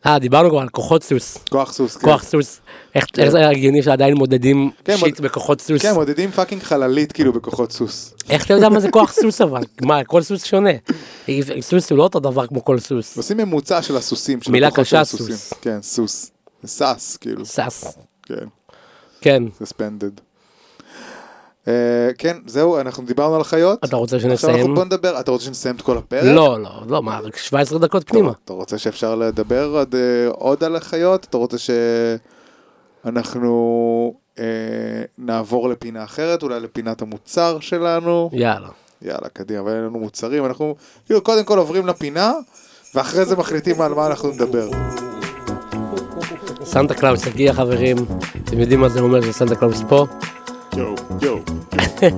Speaker 1: אה, דיברנו כבר על כוחות סוס.
Speaker 2: כוח סוס. כן.
Speaker 1: כוח סוס. איך איך זה הגיוני שעדיין מודדים
Speaker 2: כן,
Speaker 1: שיט
Speaker 2: מוד-
Speaker 1: בכוחות סוס?
Speaker 2: כן, מודדים פאקינג חללית כאילו בכוחות סוס.
Speaker 1: איך אתה יודע מה זה כוח סוס אבל? מה, כל סוס
Speaker 2: [laughs]
Speaker 1: שונה. סוס הוא לא אותו דבר כמו כל סוס.
Speaker 2: עושים ממוצע של הסוסים. של
Speaker 1: מילה
Speaker 2: הכוחות של
Speaker 1: קשה,
Speaker 2: הסוסים.
Speaker 1: סוס.
Speaker 2: כן, סוס. סס, כאילו.
Speaker 1: סס.
Speaker 2: כן,
Speaker 1: כן.
Speaker 2: סספנדד. כן, זהו, אנחנו דיברנו על חיות.
Speaker 1: אתה רוצה
Speaker 2: עכשיו אנחנו
Speaker 1: שנסיים?
Speaker 2: בוא נדבר, אתה רוצה שנסיים את כל הפרק?
Speaker 1: לא, לא, לא, מה, רק 17 דקות פנימה.
Speaker 2: אתה רוצה שאפשר לדבר עוד, אה, עוד על החיות? אתה רוצה שאנחנו אה, נעבור לפינה אחרת, אולי לפינת המוצר שלנו?
Speaker 1: יאללה.
Speaker 2: יאללה, קדימה, אבל אין לנו מוצרים, אנחנו כאילו קודם כל עוברים לפינה, ואחרי זה מחליטים על מה אנחנו נדבר.
Speaker 1: סנטה קלאוס הגיע חברים. אתם יודעים מה זה אומר שסנטה קלאוס פה? [laughs]
Speaker 2: יואו, יואו,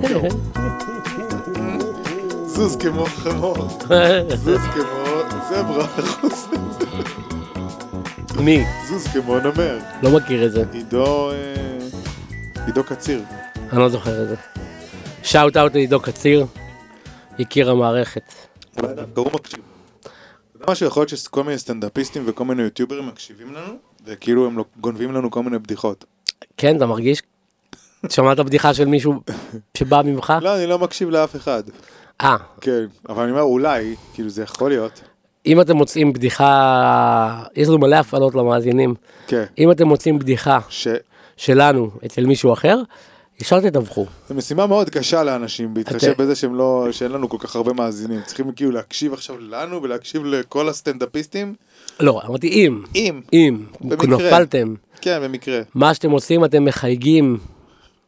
Speaker 2: יואו. זוז כמו חמור, זוז כמו זברה, חוץ מזה.
Speaker 1: מי?
Speaker 2: זוז כמו נמר.
Speaker 1: לא מכיר את זה.
Speaker 2: עידו, אה, עידו קציר.
Speaker 1: אני לא זוכר את זה. שאוט אאוט לעידו קציר. יקיר המערכת.
Speaker 2: אולי דווקא הוא מקשיב. אתה יודע משהו, יכול להיות שכל מיני סטנדאפיסטים וכל מיני יוטיוברים מקשיבים לנו, וכאילו הם לא- גונבים לנו כל מיני בדיחות.
Speaker 1: כן, אתה מרגיש? שמעת בדיחה של מישהו שבא ממך?
Speaker 2: לא, אני לא מקשיב לאף אחד.
Speaker 1: אה,
Speaker 2: כן, אבל אני אומר אולי, כאילו זה יכול להיות.
Speaker 1: אם אתם מוצאים בדיחה, יש לנו מלא הפעלות למאזינים.
Speaker 2: כן.
Speaker 1: אם אתם מוצאים בדיחה
Speaker 2: ש...
Speaker 1: שלנו אצל מישהו אחר, ישר תדווחו.
Speaker 2: זו משימה מאוד קשה לאנשים, בהתחשב
Speaker 1: אתה-
Speaker 2: בזה שהם לא, שאין לנו כל כך הרבה מאזינים. צריכים כאילו להקשיב עכשיו לנו ולהקשיב לכל הסטנדאפיסטים.
Speaker 1: לא, אמרתי אם,
Speaker 2: אם,
Speaker 1: אם,
Speaker 2: במקרה.
Speaker 1: נפלתם,
Speaker 2: כן, במקרה,
Speaker 1: מה שאתם עושים אתם מחייגים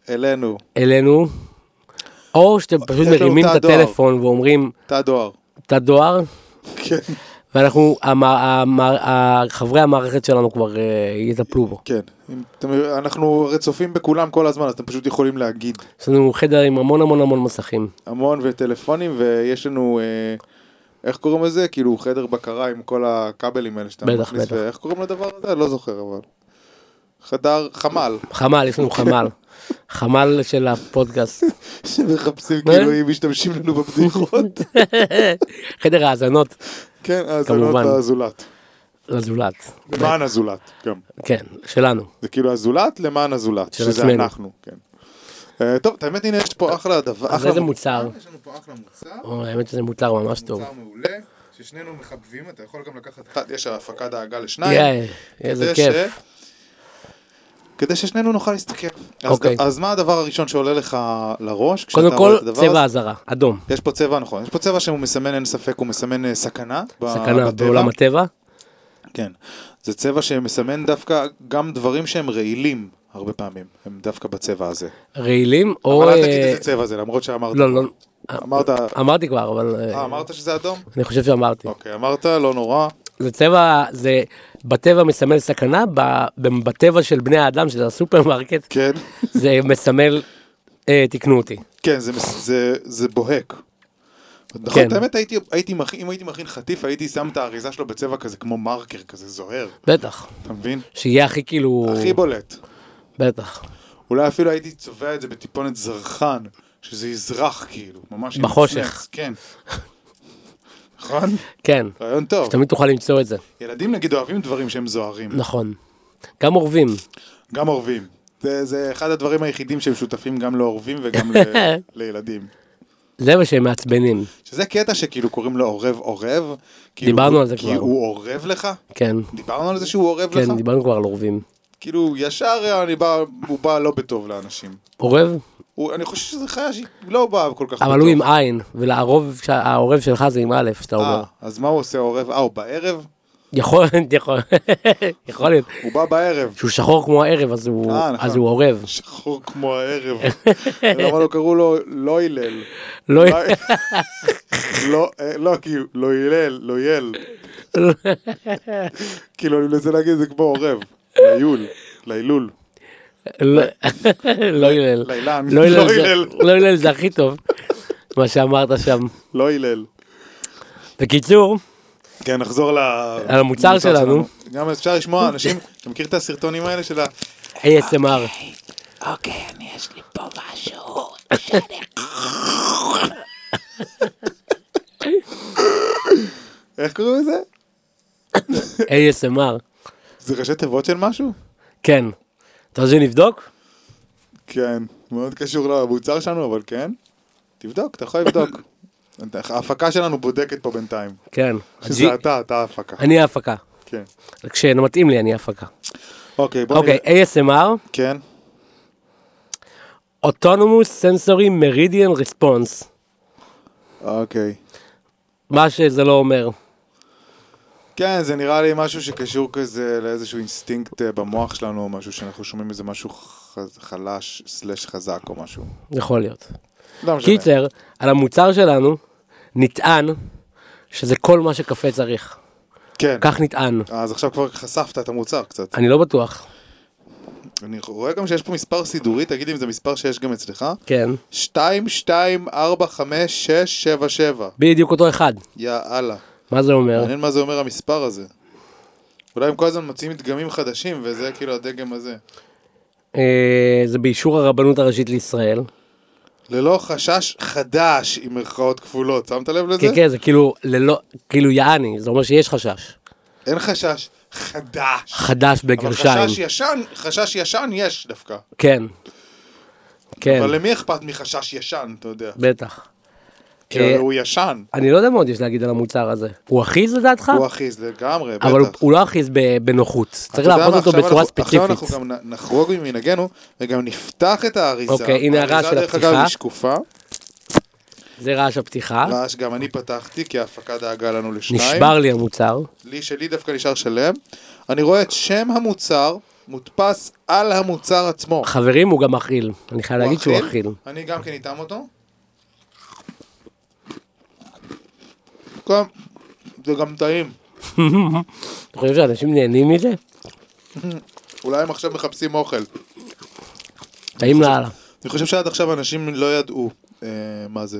Speaker 2: אלינו,
Speaker 1: אלינו, או שאתם פשוט
Speaker 2: יש לנו
Speaker 1: מרימים
Speaker 2: תא
Speaker 1: את
Speaker 2: דואר.
Speaker 1: הטלפון ואומרים
Speaker 2: תא דואר.
Speaker 1: את הדואר,
Speaker 2: כן,
Speaker 1: ואנחנו, המ- המ- ה- חברי המערכת שלנו כבר אה, יטפלו בו.
Speaker 2: כן. אם אתם, אנחנו הרי צופים בכולם כל הזמן, אז אתם פשוט יכולים להגיד
Speaker 1: יש לנו חדר עם המון המון המון מסכים.
Speaker 2: המון וטלפונים, ויש לנו, אה, איך קוראים לזה? כאילו חדר בקרה עם כל הכבלים האלה שאתה
Speaker 1: בטח,
Speaker 2: מכניס,
Speaker 1: בטח.
Speaker 2: ואיך קוראים לדבר הזה? לא זוכר, אבל. חדר חמ"ל.
Speaker 1: חמ"ל, יש לנו
Speaker 2: [laughs]
Speaker 1: חמ"ל. חמ"ל של הפודקאסט.
Speaker 2: שמחפשים
Speaker 1: מה?
Speaker 2: כאילו אם משתמשים לנו בבדיחות.
Speaker 1: חדר האזנות
Speaker 2: כן, האזנות
Speaker 1: כמובן.
Speaker 2: לזולת.
Speaker 1: לזולת.
Speaker 2: למען הזולת, גם.
Speaker 1: כן, שלנו.
Speaker 2: זה כאילו הזולת למען הזולת,
Speaker 1: של
Speaker 2: שזה
Speaker 1: עצמנו.
Speaker 2: אנחנו, כן. אה, טוב, האמת הנה יש פה אחלה דבר,
Speaker 1: אז
Speaker 2: אחלה
Speaker 1: איזה מוצר?
Speaker 2: יש לנו פה אחלה מוצר,
Speaker 1: או, האמת שזה מותר ממש טוב.
Speaker 2: מוצר מעולה, ששנינו מחבבים, אתה יכול גם לקחת אחד, יש הפקה דאגה לשניים.
Speaker 1: יאי, איזה
Speaker 2: זה
Speaker 1: כיף.
Speaker 2: ש- כדי ששנינו נוכל להסתכל. אז,
Speaker 1: אוקיי.
Speaker 2: ד- אז מה הדבר הראשון שעולה לך לראש כשאתה
Speaker 1: קודם
Speaker 2: רואה
Speaker 1: כל,
Speaker 2: את הדבר
Speaker 1: צבע
Speaker 2: הזה?
Speaker 1: אזהרה, אדום.
Speaker 2: יש פה צבע, נכון. יש פה צבע שהוא מסמן, אין ספק, הוא מסמן אה, סכנה. ב-
Speaker 1: סכנה
Speaker 2: בטבע.
Speaker 1: בעולם הטבע.
Speaker 2: כן. זה צבע שמסמן דווקא גם דברים שהם רעילים הרבה פעמים. הם דווקא בצבע הזה.
Speaker 1: רעילים או...
Speaker 2: אבל אל
Speaker 1: אה,
Speaker 2: תגיד איזה צבע זה, למרות שאמרת.
Speaker 1: לא, לא.
Speaker 2: אמרת,
Speaker 1: אמרתי כבר, אבל... אה,
Speaker 2: אה, אמרת שזה אדום?
Speaker 1: אני חושב שאמרתי.
Speaker 2: אוקיי, אמרת, לא נורא.
Speaker 1: זה צבע, זה בטבע מסמל סכנה, ב- בטבע של בני האדם, שזה
Speaker 2: [laughs]
Speaker 1: הסופרמרקט,
Speaker 2: כן.
Speaker 1: זה מסמל, אה, תקנו אותי.
Speaker 2: כן, זה, מס- זה, זה בוהק. נכון,
Speaker 1: כן.
Speaker 2: את האמת, הייתי, הייתי מכין, אם הייתי מכין חטיף, הייתי שם את האריזה שלו בצבע כזה כמו מרקר, כזה זוהר,
Speaker 1: בטח.
Speaker 2: אתה מבין?
Speaker 1: שיהיה הכי כאילו...
Speaker 2: הכי בולט.
Speaker 1: בטח.
Speaker 2: אולי אפילו הייתי צובע את זה בטיפונת זרחן, שזה יזרח כאילו, ממש... עם
Speaker 1: בחושך.
Speaker 2: מצמץ, כן. [laughs] נכון?
Speaker 1: כן.
Speaker 2: רעיון טוב.
Speaker 1: שתמיד תוכל למצוא את זה.
Speaker 2: ילדים נגיד אוהבים דברים שהם זוהרים,
Speaker 1: נכון. גם אורבים.
Speaker 2: גם אורבים. זה, זה אחד הדברים היחידים שהם שותפים גם לאורבים
Speaker 1: [laughs]
Speaker 2: וגם ל, לילדים.
Speaker 1: זה מה שהם מעצבנים.
Speaker 2: שזה קטע שכאילו קוראים לו עורב עורב. כאילו
Speaker 1: דיברנו
Speaker 2: הוא-
Speaker 1: על זה
Speaker 2: כי
Speaker 1: כבר.
Speaker 2: הוא עורב לך?
Speaker 1: כן.
Speaker 2: דיברנו על זה שהוא עורב לך?
Speaker 1: כן, דיברנו כבר על אורבים.
Speaker 2: כאילו ישר אני בא, הוא בא לא בטוב לאנשים.
Speaker 1: אורב,
Speaker 2: הוא, אני חושב שזה חיה שהיא לא באה כל כך
Speaker 1: אבל
Speaker 2: בטוב.
Speaker 1: הוא עם עין, ולערוב, שה- העורב שלך זה עם א', שאתה אומר.
Speaker 2: אה, אז מה הוא עושה עורב? אה, הוא בערב?
Speaker 1: יכול, יכול, [laughs] יכול להיות.
Speaker 2: הוא בא בערב.
Speaker 1: שהוא שחור כמו הערב, אז הוא
Speaker 2: אה, נכון.
Speaker 1: אז הוא עורב.
Speaker 2: שחור
Speaker 1: [laughs]
Speaker 2: כמו הערב. למה לא קראו לו לא הלל?
Speaker 1: לא,
Speaker 2: אולי- לא, אה, לא, כי הוא- לא הלל, לא יל. כאילו, אני מנסה להגיד את זה כמו עורב. ליול, לילול, [laughs]
Speaker 1: לא לא הלל.
Speaker 2: לילן.
Speaker 1: לא הלל
Speaker 2: לא
Speaker 1: זה-
Speaker 2: הלל.
Speaker 1: לא הלל זה הכי טוב, מה שאמרת שם.
Speaker 2: לא הלל.
Speaker 1: בקיצור,
Speaker 2: כן, נחזור ל...
Speaker 1: על המוצר שלנו.
Speaker 2: גם אפשר לשמוע אנשים, אתה מכיר את הסרטונים האלה של ה...
Speaker 1: ASMR.
Speaker 3: אוקיי, אני יש לי פה משהו.
Speaker 2: איך קוראים לזה?
Speaker 1: ASMR.
Speaker 2: זה ראשי תיבות של משהו?
Speaker 1: כן. אתה רוצה שנבדוק?
Speaker 2: כן, מאוד קשור למוצר שלנו, אבל כן. תבדוק, אתה יכול לבדוק. [laughs] ההפקה שלנו בודקת פה בינתיים.
Speaker 1: כן.
Speaker 2: שזה אתה, אתה ההפקה.
Speaker 1: אני ההפקה.
Speaker 2: כן.
Speaker 1: כשמתאים לי אני ההפקה.
Speaker 2: אוקיי, בוא
Speaker 1: אוקיי,
Speaker 2: נראה.
Speaker 1: ASMR,
Speaker 2: כן.
Speaker 1: Autonomous Sensory Meridian Response.
Speaker 2: אוקיי.
Speaker 1: מה שזה לא אומר.
Speaker 2: כן, זה נראה לי משהו שקשור כזה לאיזשהו אינסטינקט אה, במוח שלנו, או משהו שאנחנו שומעים איזה משהו ח- חלש, סלש חזק או משהו.
Speaker 1: יכול להיות.
Speaker 2: לא משנה.
Speaker 1: קיצר, על המוצר שלנו נטען שזה כל מה שקפה צריך.
Speaker 2: כן.
Speaker 1: כך נטען.
Speaker 2: אז עכשיו כבר חשפת את המוצר קצת.
Speaker 1: אני לא בטוח.
Speaker 2: אני רואה גם שיש פה מספר סידורי, תגיד לי אם זה מספר שיש גם אצלך.
Speaker 1: כן.
Speaker 2: 2245677.
Speaker 1: בדיוק אותו אחד.
Speaker 2: יאללה.
Speaker 1: מה זה אומר?
Speaker 2: מעניין מה זה אומר המספר הזה. אולי הם כל הזמן מוצאים דגמים חדשים, וזה כאילו הדגם הזה.
Speaker 1: אה, זה באישור הרבנות הראשית לישראל.
Speaker 2: ללא חשש חדש, עם מירכאות כפולות. שמת לב לזה?
Speaker 1: כן, כן, זה כאילו ללא, כאילו יעני, זה אומר שיש חשש.
Speaker 2: אין חשש חדש.
Speaker 1: חדש
Speaker 2: אבל חשש
Speaker 1: בגרשיים.
Speaker 2: ישן, חשש ישן יש דווקא.
Speaker 1: כן. כן, אה,
Speaker 2: אבל למי אכפת מחשש ישן, אתה יודע?
Speaker 1: בטח. אה,
Speaker 2: כי הרי כאילו הוא ישן.
Speaker 1: אני לא יודע מה עוד יש להגיד על המוצר הזה. הוא אחיז לדעתך?
Speaker 2: הוא אחיז לגמרי, בטח.
Speaker 1: אבל הוא- הוא לא אחיז ב- בנוחות. צריך
Speaker 2: אתה יודע
Speaker 1: לאחוז
Speaker 2: מה,
Speaker 1: אותו
Speaker 2: עכשיו
Speaker 1: בצורה
Speaker 2: אנחנו- עכשיו אנחנו
Speaker 1: ספציפית.
Speaker 2: גם נ- נחרוג ממנהגנו, וגם נפתח את האריזה.
Speaker 1: אוקיי, הנה הרעש של אה?
Speaker 2: האריזה דרך
Speaker 1: הפתיחה.
Speaker 2: אגב היא שקופה.
Speaker 1: זה רעש הפתיחה.
Speaker 2: רעש גם אני פתחתי, כי ההפקה דאגה לנו לשניים.
Speaker 1: נשבר לי המוצר.
Speaker 2: לי שלי דווקא נשאר שלם. אני רואה את שם המוצר מודפס על המוצר עצמו.
Speaker 1: חברים, הוא גם אכיל. אני חייב להגיד שהוא
Speaker 2: אכיל?
Speaker 1: אכיל.
Speaker 2: אני גם כן איתם אותו. כן, זה גם טעים.
Speaker 1: אתה חושב שאנשים נהנים מזה?
Speaker 2: אולי הם עכשיו מחפשים אוכל.
Speaker 1: טעים לאללה.
Speaker 2: אני חושב שעד עכשיו אנשים לא ידעו אה, מה זה.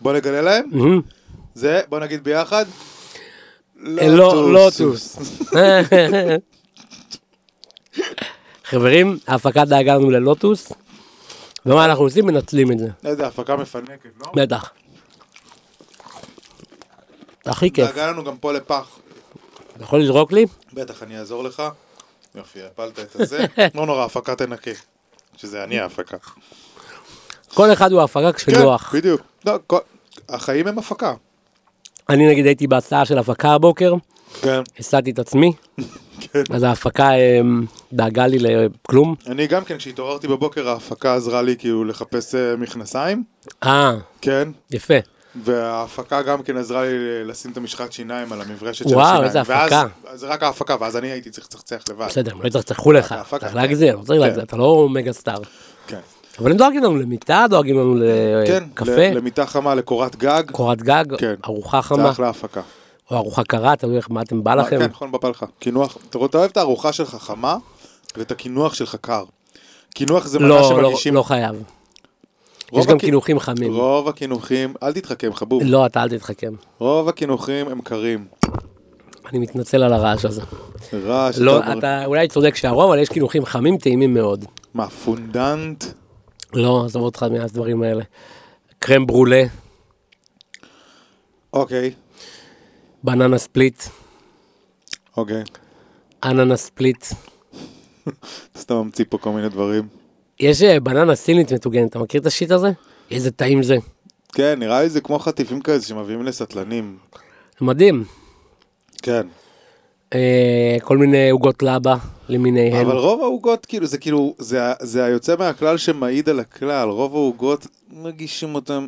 Speaker 2: בוא נגלה להם.
Speaker 1: מהמם.
Speaker 2: זה, בוא נגיד ביחד.
Speaker 1: אה,
Speaker 2: אה,
Speaker 1: לא,
Speaker 2: לא,
Speaker 1: לוטוס. [laughs] חברים, ההפקה דאגה לנו ללוטוס. ומה אנחנו עושים? מנצלים את זה.
Speaker 2: איזה הפקה מפנקת, לא?
Speaker 1: בטח. הכי כיף.
Speaker 2: דאגה לנו גם פה לפח.
Speaker 1: אתה יכול לזרוק לי?
Speaker 2: בטח, אני אעזור לך. יופי, הפלת את הזה.
Speaker 1: [laughs]
Speaker 2: לא נורא, הפקה תנקי. שזה אני ההפקה.
Speaker 1: כל אחד הוא ההפקה כשנוח.
Speaker 2: כן, בדיוק. לא, כל- החיים הם הפקה.
Speaker 1: אני נגיד הייתי בהצעה של הפקה הבוקר,
Speaker 2: כן. [laughs]
Speaker 1: הסעתי את עצמי, אז ההפקה אה, דאגה לי לכלום.
Speaker 2: אני גם כן, כשהתעוררתי בבוקר, ההפקה עזרה לי כאילו לחפש אה, מכנסיים,
Speaker 1: אה,
Speaker 2: כן,
Speaker 1: יפה.
Speaker 2: וההפקה גם כן עזרה לי לשים את המשחת שיניים על המברשת של השיניים.
Speaker 1: וואו, איזה
Speaker 2: ואז-
Speaker 1: הפקה.
Speaker 2: זה רק ההפקה, ואז אני הייתי צריך לצחצח לבד.
Speaker 1: בסדר, לא יצחצחו לך,
Speaker 2: ההפקה,
Speaker 1: צריך
Speaker 2: כן.
Speaker 1: להגזיר, לא צריך
Speaker 2: כן.
Speaker 1: להגזיר, אתה לא מגה סטאר.
Speaker 2: כן,
Speaker 1: אבל הם דואגים לנו למיטה, דואגים לנו
Speaker 2: כן, ל-
Speaker 1: לקפה,
Speaker 2: למיטה חמה, לקורת גג,
Speaker 1: קורת גג,
Speaker 2: כן.
Speaker 1: ארוחה
Speaker 2: זה
Speaker 1: חמה,
Speaker 2: אחלה הפקה.
Speaker 1: או ארוחה קרה, תלוי איך מה אתם בא
Speaker 2: מה,
Speaker 1: לכם.
Speaker 2: כן, נכון, בא לך. קינוח, אתה רואה, אתה אוהב את הארוחה שלך חמה, ואת הקינוח שלך קר. קינוח זה מנה
Speaker 1: לא, לא,
Speaker 2: שמרגישים...
Speaker 1: לא חייב.
Speaker 2: רוב
Speaker 1: יש גם
Speaker 2: הקי-
Speaker 1: קינוחים חמים.
Speaker 2: רוב הקינוחים, אל תתחכם חבוב,
Speaker 1: לא, אתה אל תתחכם.
Speaker 2: רוב הקינוחים הם קרים.
Speaker 1: אני מתנצל על הרעש הזה.
Speaker 2: רעש,
Speaker 1: לא,
Speaker 2: אתה-
Speaker 1: אתה אולי צודק שהרוב, אבל יש קינוחים חמים טעימים מאוד.
Speaker 2: מה, פונדנט?
Speaker 1: לא, עזוב אותך מהדברים האלה. קרם ברולה,
Speaker 2: אוקיי,
Speaker 1: בננה ספליט,
Speaker 2: אוקיי.
Speaker 1: אננה ספליט.
Speaker 2: סתם ממציא פה כל מיני דברים.
Speaker 1: יש אה, בננה סינית מטוגנת, אתה מכיר את השיט הזה? איזה טעים זה.
Speaker 2: כן, נראה לי זה כמו חטיפים כאלה שמביאים לסטלנים.
Speaker 1: מדהים.
Speaker 2: כן.
Speaker 1: אה, כל מיני עוגות לבה למיניהן.
Speaker 2: אבל רוב העוגות, כאילו, זה כאילו, זה ה- זה היוצא מהכלל שמעיד על הכלל. רוב העוגות מגישים אותם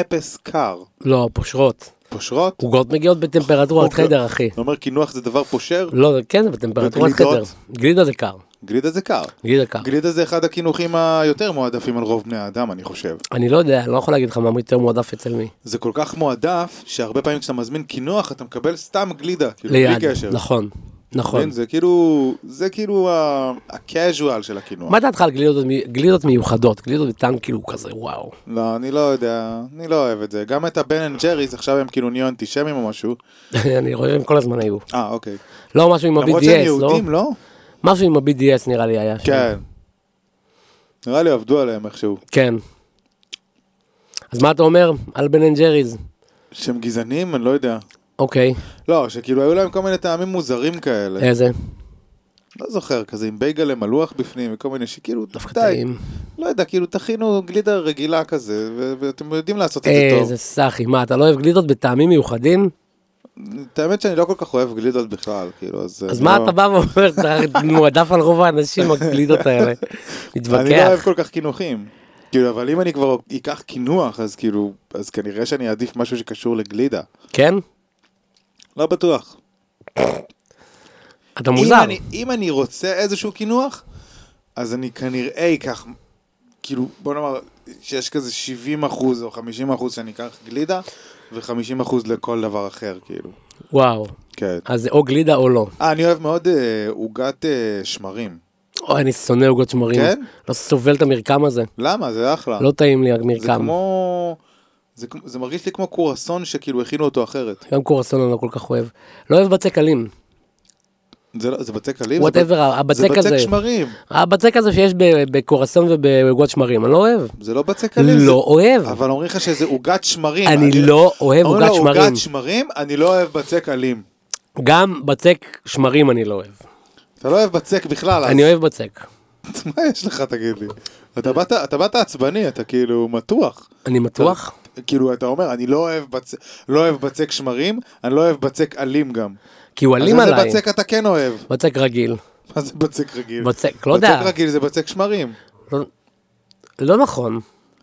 Speaker 2: אפס קר.
Speaker 1: לא, פושרות.
Speaker 2: פושרות?
Speaker 1: עוגות מגיעות בטמפרטורת
Speaker 2: אוקיי.
Speaker 1: חדר, אחי.
Speaker 2: אתה אומר קינוח זה דבר פושר?
Speaker 1: לא, זה- כן, זה בטמפרטורת חדר.
Speaker 2: וגלידות?
Speaker 1: גלידה זה קר.
Speaker 2: גלידה זה קר.
Speaker 1: גלידה קר.
Speaker 2: גלידה זה אחד הקינוחים היותר מועדפים על רוב בני האדם, אני חושב.
Speaker 1: אני לא יודע, אני לא יכול להגיד לך מה יותר מועדף אצל מי.
Speaker 2: זה כל כך מועדף, שהרבה פעמים כשאתה מזמין קינוח, אתה מקבל סתם גלידה. כאילו,
Speaker 1: ליד.
Speaker 2: בלי קשר.
Speaker 1: נכון. נכון.
Speaker 2: נכון. זה כאילו, זה כאילו ה- ה-casual של הקינוח.
Speaker 1: מה דעתך על גלידות, מי- גלידות מיוחדות? גלידות בטעם כאילו כזה, וואו. [laughs]
Speaker 2: לא, אני לא יודע, אני לא אוהב את זה. גם את הבן אנד ג'ריס, עכשיו הם כאילו נהיו אנטישמים או משהו.
Speaker 1: אני חושב שהם כל הזמן היו.
Speaker 2: אה, אוקיי.
Speaker 1: לא, משהו עם
Speaker 2: למרות שהם
Speaker 1: ה-BDS, לא?
Speaker 2: יהודים, לא?
Speaker 1: משהו עם ה-BDS נראה לי היה. שם.
Speaker 2: כן. נראה לי עבדו עליהם איכשהו.
Speaker 1: כן. אז מה אתה אומר על בן אנד ג'ריז?
Speaker 2: שהם גזענים? אני לא יודע.
Speaker 1: אוקיי,
Speaker 2: לא, שכאילו היו להם כל מיני טעמים מוזרים כאלה.
Speaker 1: איזה?
Speaker 2: לא זוכר, כזה עם בייגלה מלוח בפנים וכל מיני שכאילו,
Speaker 1: דווקא
Speaker 2: די,
Speaker 1: טעים.
Speaker 2: לא יודע, כאילו תכינו גלידה רגילה כזה, ו- ואתם יודעים לעשות את זה טוב.
Speaker 1: איזה סאחי, מה, אתה לא אוהב גלידות בטעמים מיוחדים?
Speaker 2: את האמת שאני לא כל כך אוהב גלידות בכלל, כאילו, אז...
Speaker 1: אז
Speaker 2: אני
Speaker 1: מה
Speaker 2: לא-
Speaker 1: אתה בא ואומר, אתה מועדף על רוב האנשים הגלידות האלה?
Speaker 2: אני לא אוהב
Speaker 1: מתווכח.
Speaker 2: כל כך קינוחים. כאילו, אבל אם אני כבר אקח קינוח, אז כאילו, אז כנראה שאני אעדיף משהו שקשור לגלידה.
Speaker 1: כן?
Speaker 2: לא בטוח.
Speaker 1: אתה
Speaker 2: אם
Speaker 1: מוזר.
Speaker 2: אני, אם אני רוצה איזשהו קינוח, אז אני כנראה אקח, כאילו, בוא נאמר, שיש כזה 70 אחוז או 50 אחוז שאני אקח גלידה, ו-50 אחוז לכל דבר אחר, כאילו.
Speaker 1: וואו.
Speaker 2: כן.
Speaker 1: אז זה או גלידה או לא.
Speaker 2: אה, אני אוהב מאוד אה, עוגת אה, שמרים.
Speaker 1: אוי, אני שונא עוגות שמרים.
Speaker 2: כן?
Speaker 1: לא סובל את המרקם הזה.
Speaker 2: למה? זה אחלה.
Speaker 1: לא טעים לי
Speaker 2: זה
Speaker 1: המרקם.
Speaker 2: כמו... זה, כמו- זה מרגיש לי כמו קורסון שכאילו הכינו אותו אחרת.
Speaker 1: גם קורסון אני לא כל כך אוהב. לא אוהב בצק קלים.
Speaker 2: זה, לא, זה בצק עלים? זה
Speaker 1: וואטאבר,
Speaker 2: זה
Speaker 1: הבצק
Speaker 2: בצק
Speaker 1: הזה.
Speaker 2: שמרים,
Speaker 1: הבצק הזה שיש ב- בקורסון ובעוגות שמרים, אני לא אוהב.
Speaker 2: זה לא בצק עלים.
Speaker 1: לא אוהב.
Speaker 2: זה... אבל אומרים לך שזה עוגת שמרים.
Speaker 1: אני לא אוהב
Speaker 2: אומרים
Speaker 1: עוגת
Speaker 2: לו,
Speaker 1: שמרים.
Speaker 2: עוגת שמרים, אני לא אוהב בצק עלים.
Speaker 1: גם בצק שמרים אני לא אוהב.
Speaker 2: אתה לא אוהב בצק בכלל, אז
Speaker 1: אני אוהב בצק.
Speaker 2: [laughs] מה יש לך תגיד לי? אתה באת, אתה באת עצבני, אתה כאילו מתוח.
Speaker 1: אני מתוח.
Speaker 2: כאילו אתה אומר, אני לא אוהב, בצ... לא אוהב בצק שמרים, אני לא אוהב בצק עלים גם.
Speaker 1: כי הוא אלים
Speaker 2: אז
Speaker 1: עליי.
Speaker 2: איזה בצק אתה כן אוהב? [laughs]
Speaker 1: בצק רגיל.
Speaker 2: מה זה בצק רגיל?
Speaker 1: בצק, לא יודע.
Speaker 2: בצק רגיל זה בצק שמרים.
Speaker 1: לא- לא נכון.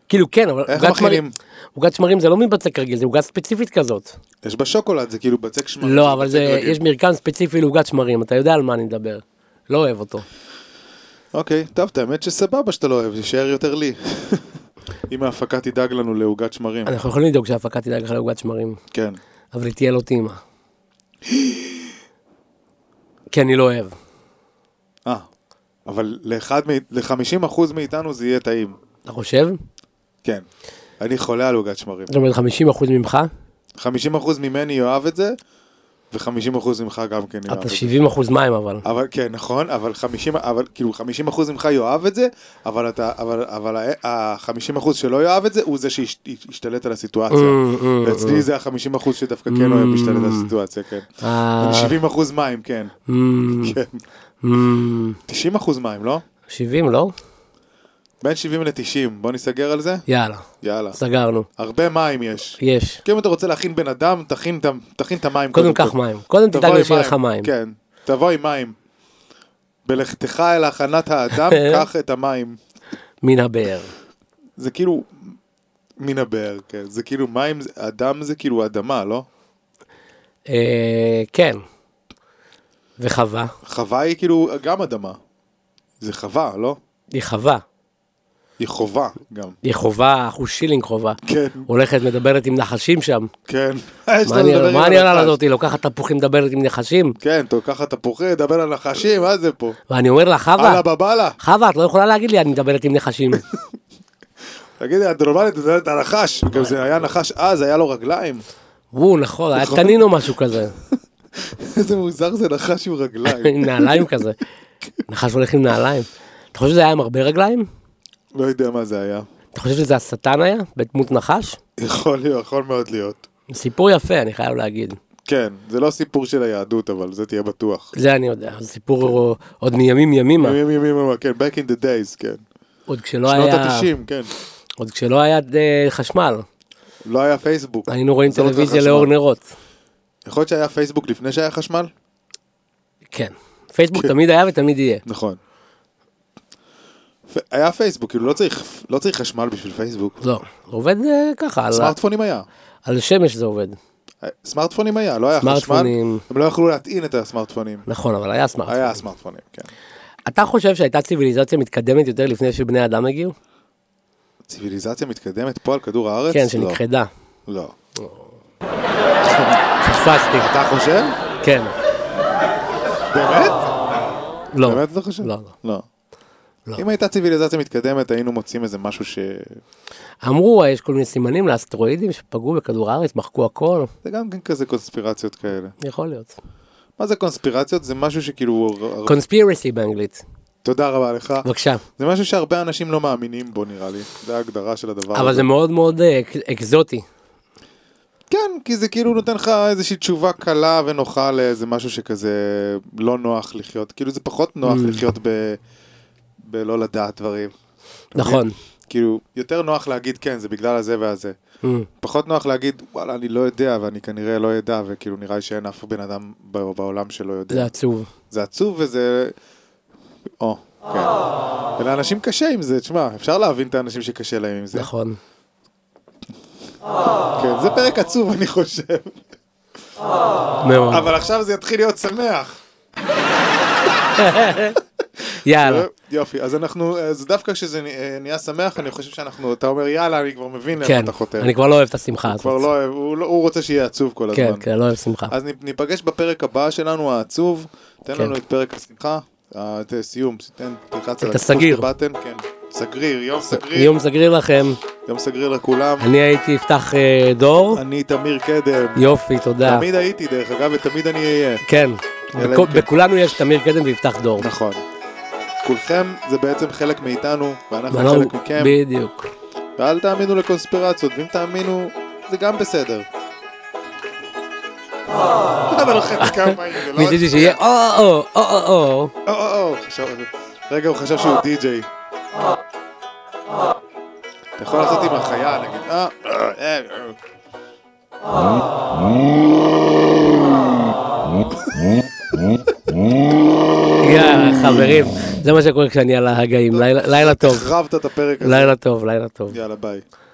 Speaker 1: כאילו כן, אבל
Speaker 2: איך
Speaker 1: עוגת
Speaker 2: מכינים?
Speaker 1: שמרים- עוגת שמרים זה לא מבצק רגיל, זה עוגה ספציפית כזאת.
Speaker 2: יש בה שוקולד, זה כאילו בצק שמרים.
Speaker 1: לא, אבל
Speaker 2: בצק
Speaker 1: זה,
Speaker 2: רגיל.
Speaker 1: יש מרקם ספציפי לעוגת שמרים, אתה יודע על מה אני מדבר. לא אוהב אותו.
Speaker 2: אוקיי, טוב, את האמת שסבבה שאתה לא אוהב, יישאר יותר לי. אם ההפקה תדאג לנו לעוגת שמרים,
Speaker 1: אנחנו יכולים לדאוג שההפקה תדאג לך לעוגת שמרים,
Speaker 2: כן.
Speaker 1: אבל היא תהיה לא
Speaker 2: [gasps]
Speaker 1: טעימה. כי אני לא אוהב.
Speaker 2: אה, אבל לאחד מ- ל-50% מאיתנו זה יהיה טעים.
Speaker 1: אתה חושב?
Speaker 2: כן. אני חולה על עוגת שמרים.
Speaker 1: זאת אומרת 50% ממך,
Speaker 2: 50% ממני יאהב את זה, ו-50% ממך גם כן יאהב
Speaker 1: אתה
Speaker 2: את זה.
Speaker 1: 70% מים אבל.
Speaker 2: אבל כן, נכון, אבל 50, אבל כאילו 50% ממך יאהב את זה, אבל אתה, אבל, אבל ה-50% שלא יאהב את זה, הוא זה שישתלט על הסיטואציה.
Speaker 1: Mm, mm,
Speaker 2: ואצלי זה ה-50% שדווקא כן אוהב להשתלט על הסיטואציה, כן.
Speaker 1: אה,
Speaker 2: אני 70% מים, כן.
Speaker 1: אמ,
Speaker 2: כן.
Speaker 1: אמ,
Speaker 2: 90% מים, לא?
Speaker 1: 70 לא?
Speaker 2: בין 70 ל-90, בוא ניסגר על זה?
Speaker 1: יאללה,
Speaker 2: יאללה.
Speaker 1: סגרנו.
Speaker 2: הרבה מים יש. כן,
Speaker 1: יש.
Speaker 2: כי אם אתה רוצה להכין בן אדם, תכין את ה- תכין את המים
Speaker 1: קודם קח מים. קודם
Speaker 2: תבוא
Speaker 1: תדאג
Speaker 2: עם
Speaker 1: לי שיהיה לך מים.
Speaker 2: כן. תבוא עם מים. בלכתך אל
Speaker 1: [laughs]
Speaker 2: הכנת האדם, קח את המים.
Speaker 1: מן הבאר.
Speaker 2: זה כאילו, מן הבאר, כן. זה כאילו מים, זה- אדם זה כאילו אדמה, לא?
Speaker 1: אה, כן. וחווה,
Speaker 2: חווה היא כאילו גם אדמה. זה חווה, לא?
Speaker 1: היא חווה,
Speaker 2: היא חובה גם.
Speaker 1: היא חובה, אחוז שילינג חובה.
Speaker 2: כן,
Speaker 1: הולכת מדברת עם נחשים שם.
Speaker 2: כן. [laughs] יש
Speaker 1: מה
Speaker 2: לנו לדבר
Speaker 1: אני- מה
Speaker 2: עם
Speaker 1: אני עולה
Speaker 2: הנחש.
Speaker 1: לזאתי, לוקחת תפוחים, מדברת עם נחשים?
Speaker 2: כן, טוב, ככה תפוחי, דבר על נחשים, מה זה פה?
Speaker 1: ואני אומר לה, חווה,
Speaker 2: אללה בבאללה.
Speaker 1: חווה, את לא יכולה להגיד לי, אני מדברת עם
Speaker 2: [laughs]
Speaker 1: נחשים.
Speaker 2: תגידי, את נורמלית, את יודעת, הנחש. גם זה היה נחש אז, היה לו רגליים.
Speaker 1: וואו, נכון, היה
Speaker 2: נכון.
Speaker 1: תנין או משהו כזה.
Speaker 2: [laughs] איזה מוזר זה נחש עם רגליים.
Speaker 1: עם [laughs] נעליים כזה. נחש הולך עם נעליים. אתה חושב שזה היה עם הרבה רגליים?
Speaker 2: [laughs] לא יודע מה זה היה.
Speaker 1: אתה חושב שזה השטן היה? בדמות נחש?
Speaker 2: יכול להיות, יכול מאוד להיות.
Speaker 1: סיפור יפה, אני חייב להגיד.
Speaker 2: כן, זה לא סיפור של היהדות, אבל זה תהיה בטוח.
Speaker 1: זה אני יודע, זה סיפור עוד מימים ימימה.
Speaker 2: ימים ימים ימים, כן, back in the days, כן.
Speaker 1: עוד כשלא
Speaker 2: שנות
Speaker 1: לא היה...
Speaker 2: ה-90, כן.
Speaker 1: עוד כשלא היה אה, חשמל.
Speaker 2: לא היה פייסבוק.
Speaker 1: היינו רואים
Speaker 2: זה לא
Speaker 1: טלוויזיה
Speaker 2: חשמל.
Speaker 1: לאור נרות.
Speaker 2: יכול להיות שהיה פייסבוק לפני שהיה חשמל?
Speaker 1: כן. פייסבוק תמיד היה ותמיד יהיה.
Speaker 2: נכון. פ- היה פייסבוק, כאילו לא צריך, לא צריך חשמל בשביל פייסבוק.
Speaker 1: לא. עובד אה, ככה, על-
Speaker 2: סמארטפונים היה.
Speaker 1: על שמש זה עובד.
Speaker 2: סמארטפונים היה, לא היה חשמל.
Speaker 1: סמארטפונים.
Speaker 2: הם לא יכלו להטעין את הסמארטפונים.
Speaker 1: נכון, אבל היה סמארטפון.
Speaker 2: היה סמארטפונים, כן.
Speaker 1: אתה חושב שהייתה ציוויליזציה מתקדמת יותר לפני שבני אדם הגיעו?
Speaker 2: ציוויליזציה מתקדמת פה על כדור הארץ?
Speaker 1: כן,
Speaker 2: לא. [laughs]
Speaker 1: שנכחדה.
Speaker 2: לא.
Speaker 1: פספסתי.
Speaker 2: אתה חושב?
Speaker 1: כן.
Speaker 2: באמת?
Speaker 1: לא.
Speaker 2: באמת אתה חושב?
Speaker 1: לא, לא.
Speaker 2: לא.
Speaker 1: לא.
Speaker 2: אם הייתה ציוויליזציה מתקדמת, היינו מוצאים איזה משהו ש...
Speaker 1: אמרו, אה, יש כל מיני סימנים לאסטרואידים שפגעו בכדור הארץ, מחקו הכל.
Speaker 2: זה גם כן כזה קונספירציות כאלה.
Speaker 1: יכול להיות.
Speaker 2: לא. מה זה קונספירציות? זה משהו שכאילו...
Speaker 1: קונספירסי באנגלית.
Speaker 2: תודה רבה לך.
Speaker 1: בבקשה.
Speaker 2: זה משהו שהרבה אנשים לא מאמינים בו נראה לי, זה ההגדרה של הדבר
Speaker 1: אבל
Speaker 2: הזה.
Speaker 1: זה מאוד מאוד אה, אק- אקזוטי.
Speaker 2: כן, כי זה כאילו נותן לך איזושהי תשובה קלה ונוחה לאיזה משהו שכזה לא נוח לחיות, כאילו זה פחות נוח
Speaker 1: Mm.
Speaker 2: לחיות ב... בלא לדעת דברים.
Speaker 1: נכון.
Speaker 2: כאילו, יותר נוח להגיד כן, זה בגלל הזה והזה.
Speaker 1: Mm.
Speaker 2: פחות נוח להגיד, וואלה, אני לא יודע ואני כנראה לא אדע, וכאילו נראה לי שאין אף בן אדם ב- בעולם שלא
Speaker 1: זה
Speaker 2: יודע.
Speaker 1: עצוב.
Speaker 2: זה עצוב וזה... או, כן. ולאנשים קשה עם זה, תשמע, אפשר להבין את האנשים שקשה להם עם זה.
Speaker 1: נכון.
Speaker 2: כן, זה פרק עצוב אני חושב,
Speaker 1: מאוד.
Speaker 2: אבל עכשיו זה יתחיל להיות שמח.
Speaker 1: יאללה.
Speaker 2: לא, יופי, אז אנחנו, אז דווקא כשזה נ- אה, נהיה שמח, אני חושב שאנחנו, אתה אומר יאללה, אני כבר מבין לאן
Speaker 1: כן.
Speaker 2: אתה חותר.
Speaker 1: אני כבר לא אוהב את השמחה
Speaker 2: כבר
Speaker 1: הזאת.
Speaker 2: לא אוהב, הוא לא- הוא רוצה שיהיה עצוב כל
Speaker 1: כן,
Speaker 2: הזמן.
Speaker 1: כן, לא אוהב שמחה.
Speaker 2: אז נפ- ניפגש בפרק הבא שלנו העצוב, תן
Speaker 1: כן.
Speaker 2: לנו את פרק השמחה, אה, את סיום, תן, תלחץ על
Speaker 1: את הסגריר.
Speaker 2: בטן, כן, סגריר, יום סגריר,
Speaker 1: יום סגריר לכם.
Speaker 2: יום סגריר לכולם,
Speaker 1: אני הייתי יפתח אה, דור.
Speaker 2: אני תמיר קדם,
Speaker 1: יופי, תודה.
Speaker 2: תמיד הייתי דרך אגב, ותמיד אני אהיה.
Speaker 1: כן.
Speaker 2: אלא
Speaker 1: בכ-
Speaker 2: אם כן.
Speaker 1: בכולנו יש תמיר קדם ויפתח דור.
Speaker 2: נכון. כולכם זה בעצם חלק מאיתנו, ואנחנו
Speaker 1: ואנחנו-
Speaker 2: נכון, חלק מכם,
Speaker 1: בדיוק.
Speaker 2: ואל תאמינו לקונספירציות, ואם תאמינו, זה גם בסדר. אתה לוחץ כמה פעמים, זה לא...
Speaker 1: ניסיתי שיהיה או-או, או-או-או.
Speaker 2: או, או, או, חשב- רגע, הוא חשב שהוא די-ג'יי. אתה יכול לעשות עם החיה, נגיד, אה, אה, אה, אה.
Speaker 1: יאללה, חברים.
Speaker 2: לא.
Speaker 1: זה מה שקורה כשאני על ההגאים. לילה לילה טוב.
Speaker 2: [laughs] החרבת את הפרק הזה.
Speaker 1: לילה טוב, לילה טוב.
Speaker 2: יאללה, ביי.